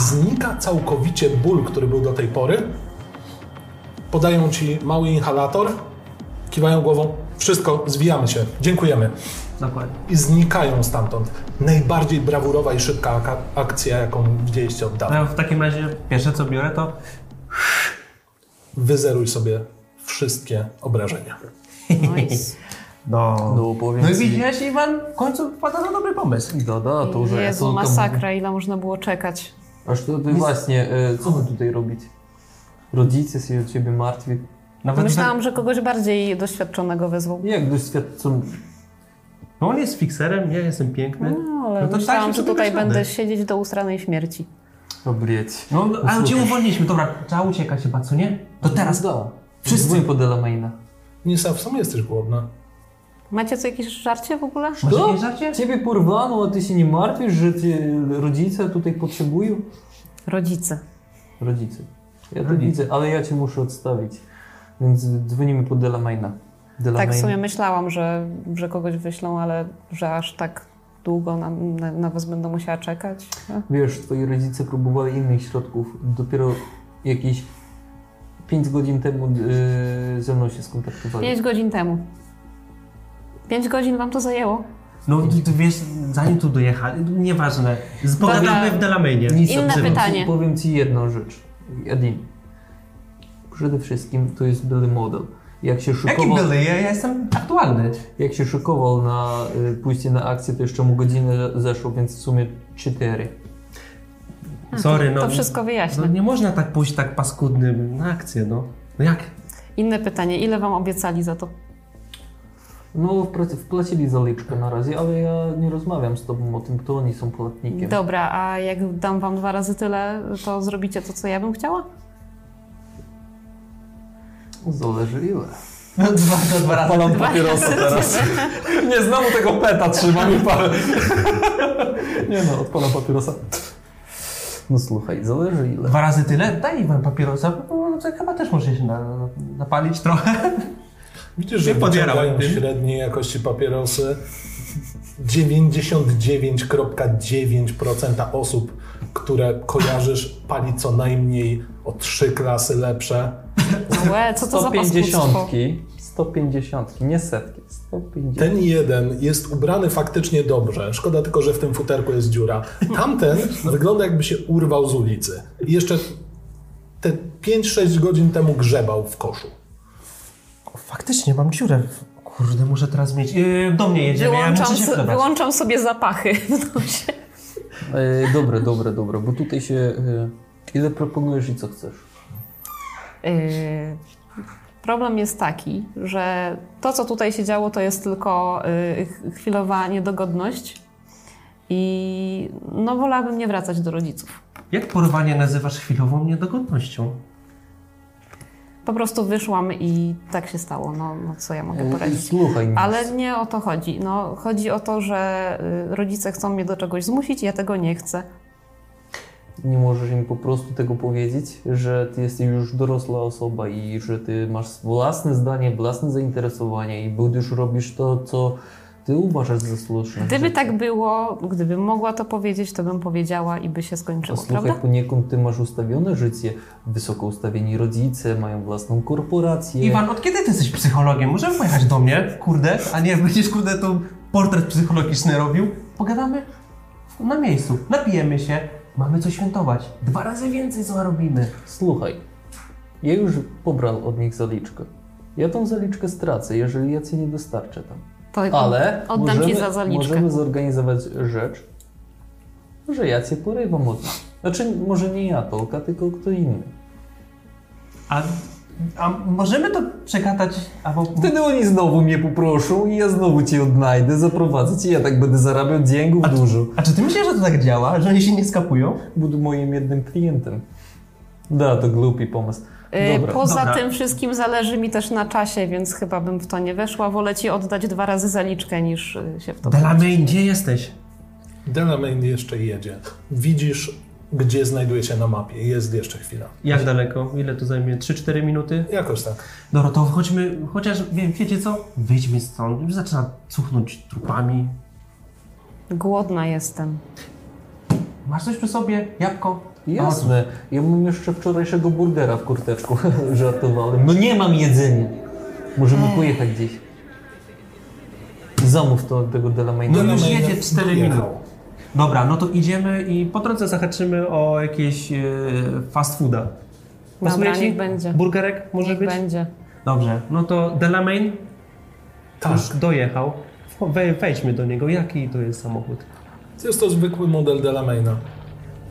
Speaker 1: Znika całkowicie ból, który był do tej pory. Podają ci mały inhalator. Kiwają głową. Wszystko, zwijamy się. Dziękujemy
Speaker 2: Dokładnie.
Speaker 1: i znikają stamtąd. Najbardziej brawurowa i szybka ak- akcja, jaką widzieliście od dawna.
Speaker 2: Ja No, w takim razie pierwsze co biorę to
Speaker 1: Wyzeruj sobie wszystkie obrażenia.
Speaker 5: Nice.
Speaker 2: No.
Speaker 3: No, powiem
Speaker 2: No i
Speaker 3: ci-
Speaker 2: widziałeś, Iwan, w końcu wpada na dobry pomysł.
Speaker 3: Da, da, to że
Speaker 5: Jezu,
Speaker 3: to,
Speaker 5: masakra, ile można było czekać.
Speaker 3: Aż to, to właśnie, e, co my tutaj robić? Rodzice się o ciebie martwi.
Speaker 2: Nawet
Speaker 5: No Myślałam, że kogoś bardziej doświadczonego wezwał.
Speaker 3: Jak doświadczą
Speaker 2: No on jest fikserem, ja jestem piękny.
Speaker 5: No, ale
Speaker 2: No to
Speaker 5: myślałam,
Speaker 2: tak się
Speaker 5: że tutaj
Speaker 2: dogadamy.
Speaker 5: będę siedzieć do usranej śmierci.
Speaker 3: obrieć?
Speaker 2: No, ale cię
Speaker 3: Usłuchasz.
Speaker 2: uwolniliśmy, dobra, trzeba uciekać chyba, co nie? To teraz.
Speaker 3: da.
Speaker 2: Wszyscy.
Speaker 3: Wszyscy pod Elamaina.
Speaker 1: Nisa, w sumie jesteś głodna.
Speaker 5: Macie co, jakieś żarcie w ogóle?
Speaker 2: Masz
Speaker 3: Co?
Speaker 2: jakieś żarcie?
Speaker 3: Ciebie porwano, a ty się nie martwisz, że cię rodzice tutaj potrzebują?
Speaker 5: Rodzice.
Speaker 3: Rodzice. Ja to
Speaker 2: Rodzice.
Speaker 3: widzę, ale ja cię muszę odstawić. Więc dzwonimy pod Delamaina.
Speaker 5: Tak w
Speaker 3: Delamain-
Speaker 5: sumie myślałam, że, że kogoś wyślą, ale że aż tak długo na, na, na was będę musiała czekać.
Speaker 3: Wiesz, twoi rodzice próbowali innych środków. Dopiero jakieś 5 godzin temu yy, ze mną się skontaktowali.
Speaker 5: Pięć godzin temu. Pięć godzin wam to zajęło.
Speaker 2: No ty, ty wiesz, zanim tu dojechali, nieważne. Pogadamy
Speaker 5: Dobra.
Speaker 2: w Delamainie.
Speaker 3: Nic
Speaker 5: Inne
Speaker 3: dobrze.
Speaker 5: pytanie.
Speaker 3: Powiem ci jedną rzecz. Adim. Przede wszystkim to jest Billy Model. Jak się
Speaker 2: Jaki
Speaker 3: szykował,
Speaker 2: były? Ja, ja jestem aktualny.
Speaker 3: jak się szykował na y, pójście na akcję, to jeszcze mu godzinę zeszło, więc w sumie 4.
Speaker 2: Sorry, no.
Speaker 5: To wszystko
Speaker 2: No
Speaker 5: wyjaśnię.
Speaker 2: nie można tak pójść tak paskudnym na akcję, no. No jak?
Speaker 5: Inne pytanie, ile wam obiecali za to?
Speaker 3: No, wpra- wpłacili zaliczkę na razie, ale ja nie rozmawiam z tobą o tym, kto oni są płatnikiem.
Speaker 5: Dobra, a jak dam wam dwa razy tyle, to zrobicie to, co ja bym chciała?
Speaker 3: Zależy ile.
Speaker 2: Dwa, dwa, dwa razy.
Speaker 4: Palam papierosa teraz. Nie, znowu tego peta trzymam i palę.
Speaker 3: Nie no, odpala papierosa. No słuchaj, zależy ile.
Speaker 2: Dwa razy tyle? Daj Iwan papierosa, bo to chyba też może się na, napalić trochę.
Speaker 1: Widzisz, że
Speaker 2: Nie podjarałem
Speaker 1: wyciągają
Speaker 2: tym.
Speaker 1: średniej jakości papierosy. 99,9% osób, które kojarzysz, pali co najmniej o trzy klasy lepsze.
Speaker 5: Łe, No, e, co to za paskudstwo?
Speaker 3: 150. 150, nie setki. 150.
Speaker 1: Ten jeden jest ubrany faktycznie dobrze. Szkoda tylko, że w tym futerku jest dziura. Tamten wygląda jakby się urwał z ulicy. I jeszcze te 5-6 godzin temu grzebał w koszu.
Speaker 2: O, faktycznie, mam dziurę. Kurde, muszę teraz zmienić. Yy, do mnie jedziemy, ja
Speaker 5: Wyłączam,
Speaker 2: muszę się
Speaker 5: so-
Speaker 2: wgrywać.
Speaker 5: wyłączam sobie zapachy w nosie.
Speaker 3: E, dobre, dobre, dobre, bo tutaj się... E, ile proponujesz i co chcesz?
Speaker 5: Yy, Problem jest taki, że to, co tutaj się działo, to jest tylko yy, ch- chwilowa niedogodność. I no, wolałabym nie wracać do rodziców.
Speaker 2: Jak porwanie nazywasz chwilową niedogodnością?
Speaker 5: Po prostu wyszłam i tak się stało. No, no co ja mogę
Speaker 3: E,
Speaker 5: poradzić?
Speaker 3: słuchaj, Nis.
Speaker 5: Ale nie o to chodzi. No, chodzi o to, że y, rodzice chcą mnie do czegoś zmusić, ja tego nie chcę.
Speaker 3: No, nie możesz im po prostu tego powiedzieć, że ty jesteś już dorosła osoba i że ty masz własne zdanie, własne zainteresowanie i będziesz robisz to, co Ty uważasz za słuszne.
Speaker 5: Gdyby tak było, gdybym mogła to powiedzieć, to bym powiedziała i by się skończyło,
Speaker 3: Posłuchaj,
Speaker 5: prawda?
Speaker 3: poniekąd ty masz ustawione życie. Wysoko ustawieni rodzice mają własną korporację.
Speaker 2: Iwan, od kiedy ty jesteś psychologiem? Możemy pojechać do mnie, kurde, a nie będziesz, kurde, tu portret psychologiczny robił? Pogadamy na miejscu, napijemy się, mamy co świętować. Dwa razy więcej zarobimy.
Speaker 3: Słuchaj, ja już pobrał od nich zaliczkę. Ja tą zaliczkę stracę, jeżeli ja cię nie dostarczę tam.
Speaker 5: To y,
Speaker 3: Ale
Speaker 5: No, oddam
Speaker 3: możemy,
Speaker 5: ci za zaliczkę.
Speaker 3: możemy zorganizować rzecz, że ja cię porywam od nich. Znaczy, może nie ja, Polka, tylko kto inny.
Speaker 2: A, a możemy to przegadać, albo...
Speaker 3: Wtedy oni znowu mnie poproszą i ja znowu cię odnajdę, zaprowadzę cię, ja tak będę zarabiał dzięków
Speaker 2: A-
Speaker 3: dużo.
Speaker 2: A czy ty myślisz, że to tak działa, że oni się nie skapują?
Speaker 3: Budę moim jednym klientem. Da, to głupi pomysł.
Speaker 5: Y,
Speaker 3: Dobra.
Speaker 5: Poza
Speaker 2: dobra.
Speaker 5: tym wszystkim zależy mi też na czasie, więc chyba bym w to nie weszła. Wolę ci oddać dwa razy zaliczkę niż y, się w to.
Speaker 2: Delamain, gdzie jesteś?
Speaker 1: Delamain jeszcze jedzie. Widzisz, gdzie znajduje się na mapie. Jest jeszcze chwila.
Speaker 2: Jak daleko? Ile to zajmie? 3-4 minuty?
Speaker 1: Jakoś tak.
Speaker 2: Dobra, to chodźmy, chociaż wie, wiecie co? Wyjdźmy stąd, już zaczyna cuchnąć trupami.
Speaker 5: Głodna jestem.
Speaker 2: Masz coś przy sobie? Jabłko?
Speaker 3: Jasne, ja mam jeszcze wczorajszego burgera w kurteczku, żartowałem. No nie mam jedzenia. Możemy
Speaker 5: Hmm.
Speaker 3: pojechać gdzieś. Zamów to tego Delamaina.
Speaker 2: No
Speaker 1: Delamain
Speaker 2: już jedzie 4
Speaker 1: dojechał.
Speaker 2: minuty. Dobra, no to idziemy i po drodze zahaczymy o jakieś e, fast fooda. Pasuje
Speaker 5: niech będzie.
Speaker 2: Burgerek może
Speaker 5: Niech
Speaker 2: być?
Speaker 5: będzie.
Speaker 2: Dobrze, no to Delamain
Speaker 1: Tak.
Speaker 2: już dojechał. We, wejdźmy do niego. Jaki to jest samochód?
Speaker 1: Jest to zwykły model Delamaina.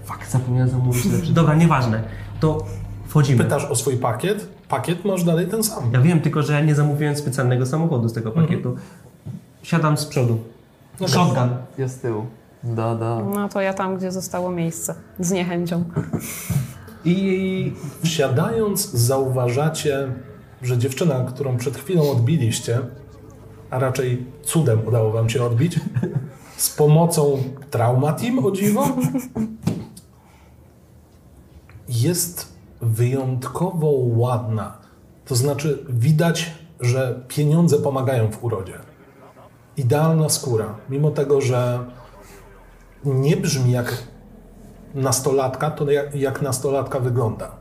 Speaker 2: Fakt, zapomniałem zamówić lepszy. Dobra, nieważne. To wchodzimy.
Speaker 1: Pytasz o swój pakiet. Pakiet masz dalej ten sam.
Speaker 2: Ja wiem, tylko że ja nie zamówiłem specjalnego samochodu z
Speaker 5: Mhm.
Speaker 2: tego pakietu. Siadam z przodu. Shotgun.
Speaker 3: Ja z tyłu. Da, da.
Speaker 5: No to ja tam, gdzie zostało miejsce. Z niechęcią.
Speaker 2: I
Speaker 1: Wsiadając, zauważacie, że dziewczyna, którą przed chwilą odbiliście, a raczej cudem udało wam się odbić, z pomocą Trauma Team, o dziwo, jest wyjątkowo ładna. To znaczy, widać, że pieniądze pomagają w urodzie. Idealna skóra, mimo tego, że nie brzmi jak nastolatka, to jak, jak nastolatka wygląda.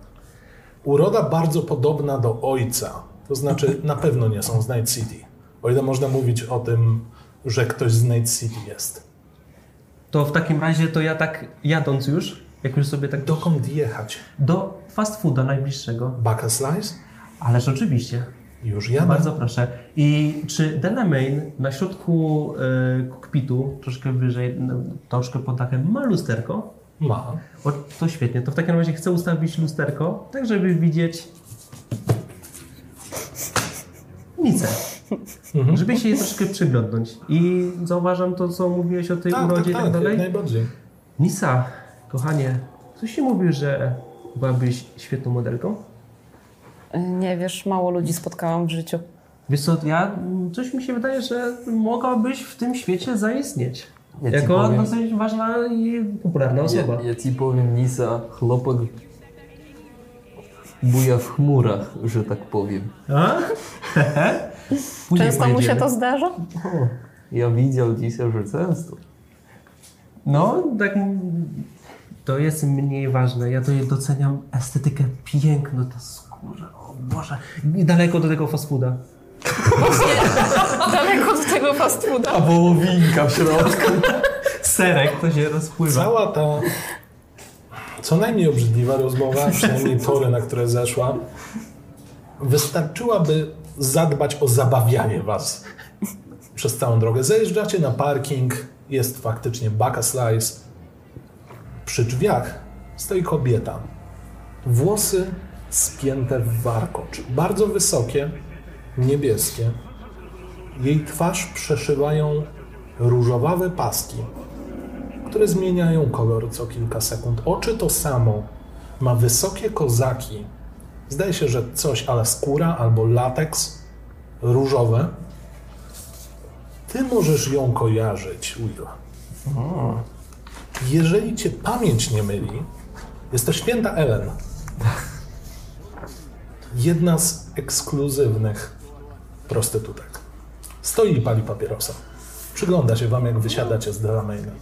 Speaker 1: Uroda bardzo podobna do ojca, to znaczy na pewno nie są z Night City. O ile można mówić o tym, że ktoś z Night City jest.
Speaker 2: to w takim razie to ja tak jadąc już, jak już sobie tak do,
Speaker 1: Dokąd jechać?
Speaker 2: do fast fooda najbliższego.
Speaker 1: Back and Slice?
Speaker 2: Ależ oczywiście.
Speaker 1: Już jadę.
Speaker 2: Bardzo proszę. I czy Delamain na środku y, kokpitu, troszkę wyżej, no, troszkę pod dachem, ma lusterko?
Speaker 1: Ma.
Speaker 2: O, to świetnie. To w takim razie chcę ustawić lusterko, tak żeby widzieć nicę.
Speaker 1: Mhm.
Speaker 2: Żeby się jej troszkę przyglądnąć. I zauważam to, co mówiłeś o tej
Speaker 1: Tak, tak,
Speaker 2: urodzie i tak
Speaker 1: tak, jak
Speaker 2: dalej.
Speaker 1: najbardziej.
Speaker 2: Nisa, kochanie, ktoś ci mówił, że byłabyś świetną modelką?
Speaker 5: Y, Nie wiesz, mało ludzi spotkałam w życiu.
Speaker 2: Wiesz co, ja, coś mi się wydaje, że mogłabyś w tym świecie zaistnieć.
Speaker 3: Ja ci
Speaker 2: jako
Speaker 3: powiem-
Speaker 2: dosyć ważna i popularna osoba.
Speaker 3: Ja, ja ci powiem, Nisa, chłopak buja w chmurach, że tak powiem.
Speaker 2: A? Później
Speaker 5: Często mu się
Speaker 2: pojedziemy.
Speaker 5: to zdarza?
Speaker 3: O, ja widział dzisiaj, że często.
Speaker 2: No, tak. m- To jest mniej ważne. Ja to doceniam estetykę, piękno, ta skóra. O Boże. I daleko do tego fast fooda.
Speaker 5: Daleko do tego fast fooda.
Speaker 3: A wołowinka w środku.
Speaker 2: Serek to się rozpływa.
Speaker 1: Cała ta co najmniej obrzydliwa rozmowa, przynajmniej tory, na które zeszła, wystarczyłaby zadbać o zabawianie was przez całą drogę. Zajeżdżacie na parking, jest faktycznie baka slice. Przy drzwiach stoi kobieta. Włosy spięte w warkocz. Bardzo wysokie, niebieskie. Jej twarz przeszywają różowawe paski które zmieniają kolor co kilka sekund. Oczy to samo. Ma wysokie kozaki. Zdaje się, że coś, ale skóra albo lateks różowe. Ty możesz ją kojarzyć, Will. Jeżeli cię pamięć nie myli, jest to święta Ellen. Jedna z ekskluzywnych prostytutek. Stoi i pali papierosa. Przygląda się wam, jak wysiadacie z Delamaina.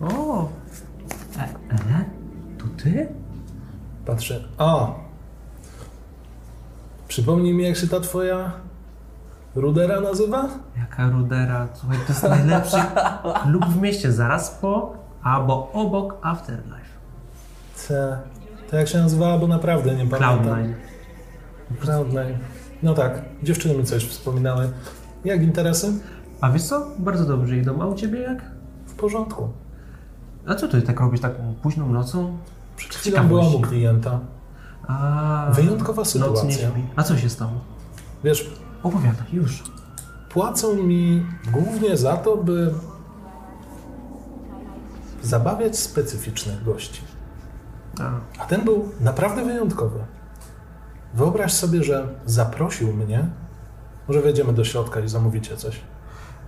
Speaker 4: O!
Speaker 2: To E, ty?
Speaker 1: Patrzę. A! Przypomnij mi, jak się ta twoja rudera nazywa?
Speaker 2: Jaka rudera, słuchaj, to jest najlepszy klub w mieście, zaraz po albo obok Afterlife.
Speaker 1: Te, to jak się nazywała, bo naprawdę nie pamiętam.
Speaker 2: Cloud9.
Speaker 1: Cloud9. No tak, dziewczyny mi coś wspominały. Jak interesy?
Speaker 2: A wiesz co? Bardzo dobrze idą, a u ciebie jak?
Speaker 1: W porządku.
Speaker 2: A co ty tak robisz taką późną nocą?
Speaker 1: Przed chwilą
Speaker 2: Ciekawość.
Speaker 1: byłam u klienta.
Speaker 2: A...
Speaker 1: Wyjątkowa
Speaker 2: Noc nie
Speaker 1: sytuacja.
Speaker 2: śpi. A co się stało?
Speaker 1: Wiesz,
Speaker 2: Opowiadaj, już.
Speaker 1: płacą mi głównie za to, by zabawiać specyficznych gości.
Speaker 2: A,
Speaker 1: A ten był naprawdę wyjątkowy. Wyobraź sobie, że zaprosił mnie. Może wejdziemy do środka i zamówicie coś.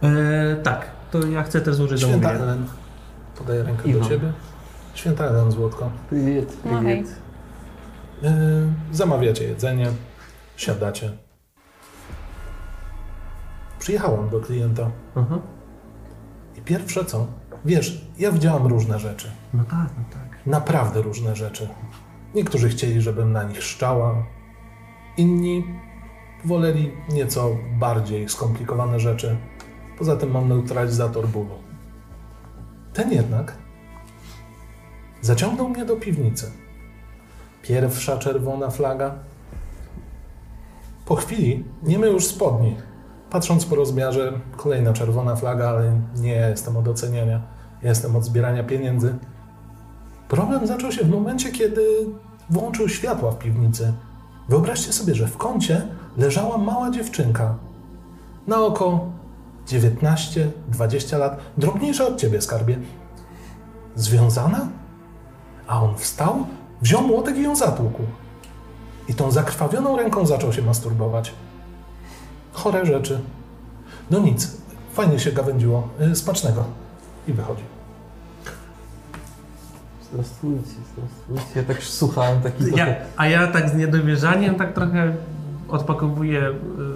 Speaker 2: E, tak, to ja chcę też złożyć
Speaker 1: Święta
Speaker 2: zamówienie.
Speaker 1: Ellen. Podaję rękę
Speaker 2: I
Speaker 1: do
Speaker 2: mam.
Speaker 1: ciebie. Święta Ellen, złotko.
Speaker 3: Привет,
Speaker 5: Ну,
Speaker 3: привет.
Speaker 1: Yy, zamawiacie jedzenie, siadacie. Przyjechałam do klienta
Speaker 2: Aha.
Speaker 1: i pierwsze co? Wiesz, ja widziałam różne rzeczy.
Speaker 2: No tak, no tak.
Speaker 1: Naprawdę różne rzeczy. Niektórzy chcieli, żebym na nich szczała, inni woleli nieco bardziej skomplikowane rzeczy. Poza tym mam neutralizator bólu. Ten jednak zaciągnął mnie do piwnicy. Pierwsza czerwona flaga. Po chwili nie my już spodni. Patrząc po rozmiarze, kolejna czerwona flaga, ale nie ja jestem od oceniania, ja jestem od zbierania pieniędzy. Problem zaczął się w momencie, kiedy włączył światła w piwnicy. Wyobraźcie sobie, że w kącie leżała mała dziewczynka. Na oko 19-20 lat, drobniejsza od ciebie, skarbie. Związana? A on wstał, wziął młotek i ją zatłukł. I tą zakrwawioną ręką zaczął się masturbować. Chore rzeczy. No nic, fajnie się gawędziło. Y, Smacznego. I wychodzi.
Speaker 3: Здравствуйте, здравствуйте. Я так слухаю,
Speaker 1: No
Speaker 3: такие
Speaker 2: Ja, a ja tak z niedowierzaniem tak trochę odpakowuję y,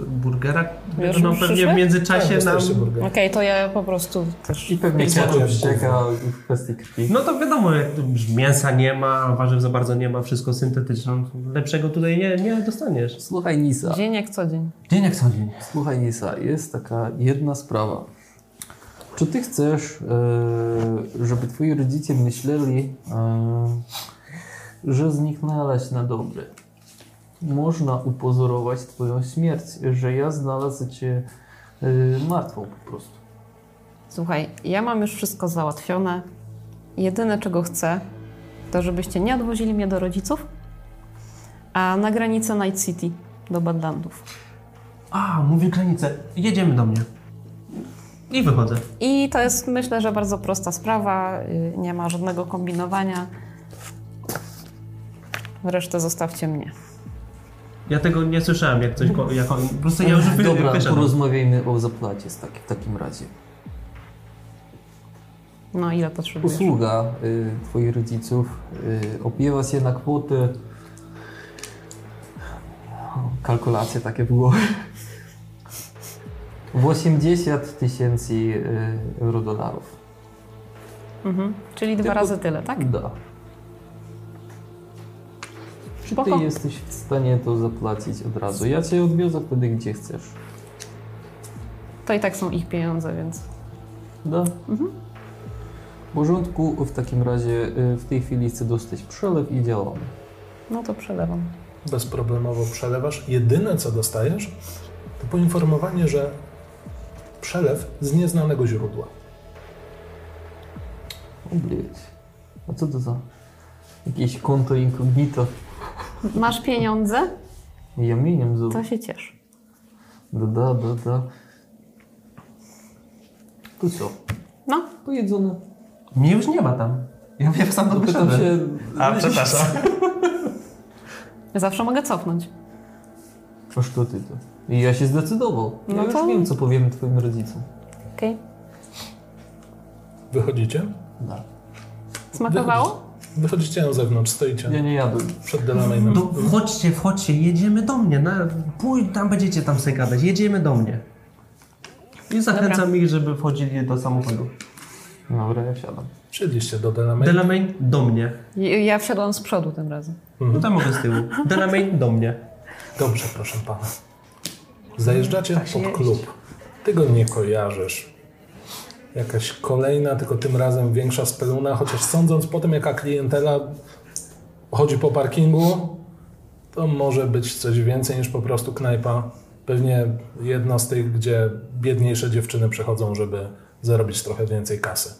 Speaker 2: burgera,
Speaker 5: Już
Speaker 2: no pewnie
Speaker 5: przyszły?
Speaker 2: w międzyczasie
Speaker 1: Tak,
Speaker 2: nam...
Speaker 1: dostaliście burgera.
Speaker 5: Okej, to ja po prostu też.
Speaker 3: I pewnie
Speaker 1: Wiecie,
Speaker 3: cię
Speaker 1: jak
Speaker 3: czeka w kwestii krwi.
Speaker 2: No to wiadomo, jak tu już mięsa nie ma, warzyw za bardzo nie ma, wszystko syntetyczne, no to lepszego tutaj nie, nie dostaniesz.
Speaker 3: Słuchaj Nisa,
Speaker 5: Dzień jak co dzień.
Speaker 2: Dzień jak co dzień.
Speaker 3: słuchaj Nisa, jest taka jedna sprawa. Czy ty chcesz, e, żeby twoi rodzice myśleli, e, że zniknęłaś na dobre? Można upozorować twoją śmierć, że ja znalazłem cię e, martwą po prostu.
Speaker 5: Słuchaj, ja mam już wszystko załatwione. Jedyne czego chcę, to żebyście nie odwozili mnie do rodziców, a na granicę Night City do Badlandów.
Speaker 2: A, mówi granicę, jedziemy do mnie. I wychodzę.
Speaker 5: I to jest myślę, że bardzo prosta sprawa. y, Nie ma żadnego kombinowania. Resztę zostawcie mnie.
Speaker 2: Ja tego nie słyszałem, jak coś... ko- Jak on, po prostu ja już no. wy-
Speaker 3: Dobra,
Speaker 2: wyszedłem.
Speaker 3: porozmawiajmy o zapłacie z tak, w takim razie.
Speaker 5: No ile potrzebujesz?
Speaker 3: Usługa y, Twoich rodziców y, opiewa się na kwoty. Kalkulacje takie było. 80 tysięcy y, eurodolarów.
Speaker 5: Mhm. Czyli dwa
Speaker 3: Tylko-
Speaker 5: razy tyle, tak?
Speaker 3: Da. Czy ty
Speaker 5: Spoko.
Speaker 3: jesteś w stanie to zapłacić od razu? Ja cię odwiozę wtedy, gdzie chcesz.
Speaker 5: To i tak są ich pieniądze, więc.
Speaker 3: Da?
Speaker 5: Mhm.
Speaker 3: W porządku, w takim razie y, w tej chwili chcę dostać przelew i działamy.
Speaker 5: No to przelewam.
Speaker 1: bezproblemowo przelewasz. Jedyne co dostajesz, to poinformowanie, że przelew z nieznanego źródła.
Speaker 3: O blядь. A co to za jakieś konto incognito?
Speaker 5: Masz pieniądze?
Speaker 3: Ja mieniam za...
Speaker 5: To się ciesz.
Speaker 3: Da, da, da, da. To co?
Speaker 5: No,
Speaker 3: Pojedzone.
Speaker 2: Mnie już nie ma tam. Ja wiem, sam to
Speaker 3: Pytam
Speaker 2: wyszedłem.
Speaker 3: się...
Speaker 2: A, przepraszam.
Speaker 5: zawsze mogę cofnąć.
Speaker 3: Aż to ty to. I ja się zdecydował. Ja
Speaker 5: No
Speaker 3: już
Speaker 5: to-
Speaker 3: wiem, co powiem twoim rodzicom.
Speaker 5: Okej.
Speaker 1: Wychodzicie?
Speaker 3: Da.
Speaker 5: Smakowało?
Speaker 1: Wychodzicie na zewnątrz, stoicie
Speaker 3: Ja nie jadłem.
Speaker 1: przed Delamainem.
Speaker 2: No wchodźcie, wchodźcie, jedziemy do mnie. Na, pójdź, tam będziecie tam sobie gadać. Jedziemy do mnie. I zachęcam ich, żeby wchodzili do samochodu.
Speaker 3: Dobra, ja wsiadam.
Speaker 1: Przyjdźcie do Delamain.
Speaker 2: Delamain do mnie.
Speaker 5: Ja ja wsiadłam z przodu tym razem.
Speaker 2: No tam mogę z tyłu. Delamain do mnie.
Speaker 1: Dobrze, proszę pana. Zajeżdżacie
Speaker 5: Tak się
Speaker 1: pod
Speaker 5: jeździ.
Speaker 1: klub. Ty go nie kojarzysz. Jakaś kolejna, tylko tym razem większa speluna, chociaż sądząc po tym, jaka klientela chodzi po parkingu, to może być coś więcej niż po prostu knajpa. Pewnie jedna z tych, gdzie biedniejsze dziewczyny przychodzą, żeby zarobić trochę więcej kasy.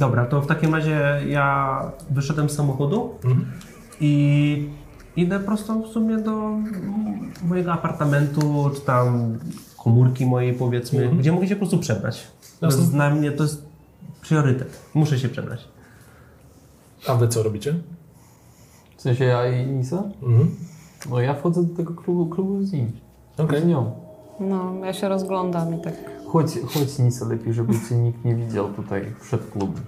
Speaker 2: Dobra, to w takim razie ja wyszedłem z samochodu
Speaker 1: Mhm.
Speaker 2: i idę prosto w sumie do m- mojego apartamentu, czy tam komórki mojej powiedzmy,
Speaker 1: Mhm.
Speaker 2: gdzie mogę się po prostu przebrać. To
Speaker 1: Jasne.
Speaker 2: jest dla mnie to jest priorytet. Muszę się przebrać.
Speaker 1: A wy co robicie?
Speaker 3: W sensie ja i Nisa?
Speaker 1: Mhm.
Speaker 3: No ja wchodzę do tego klubu, klubu z nim.
Speaker 1: Okej.
Speaker 3: Z nią.
Speaker 5: No, ja się rozglądam i tak.
Speaker 3: Chodź, chodź Nisa, lepiej, żeby cię nikt nie widział tutaj przed klubem.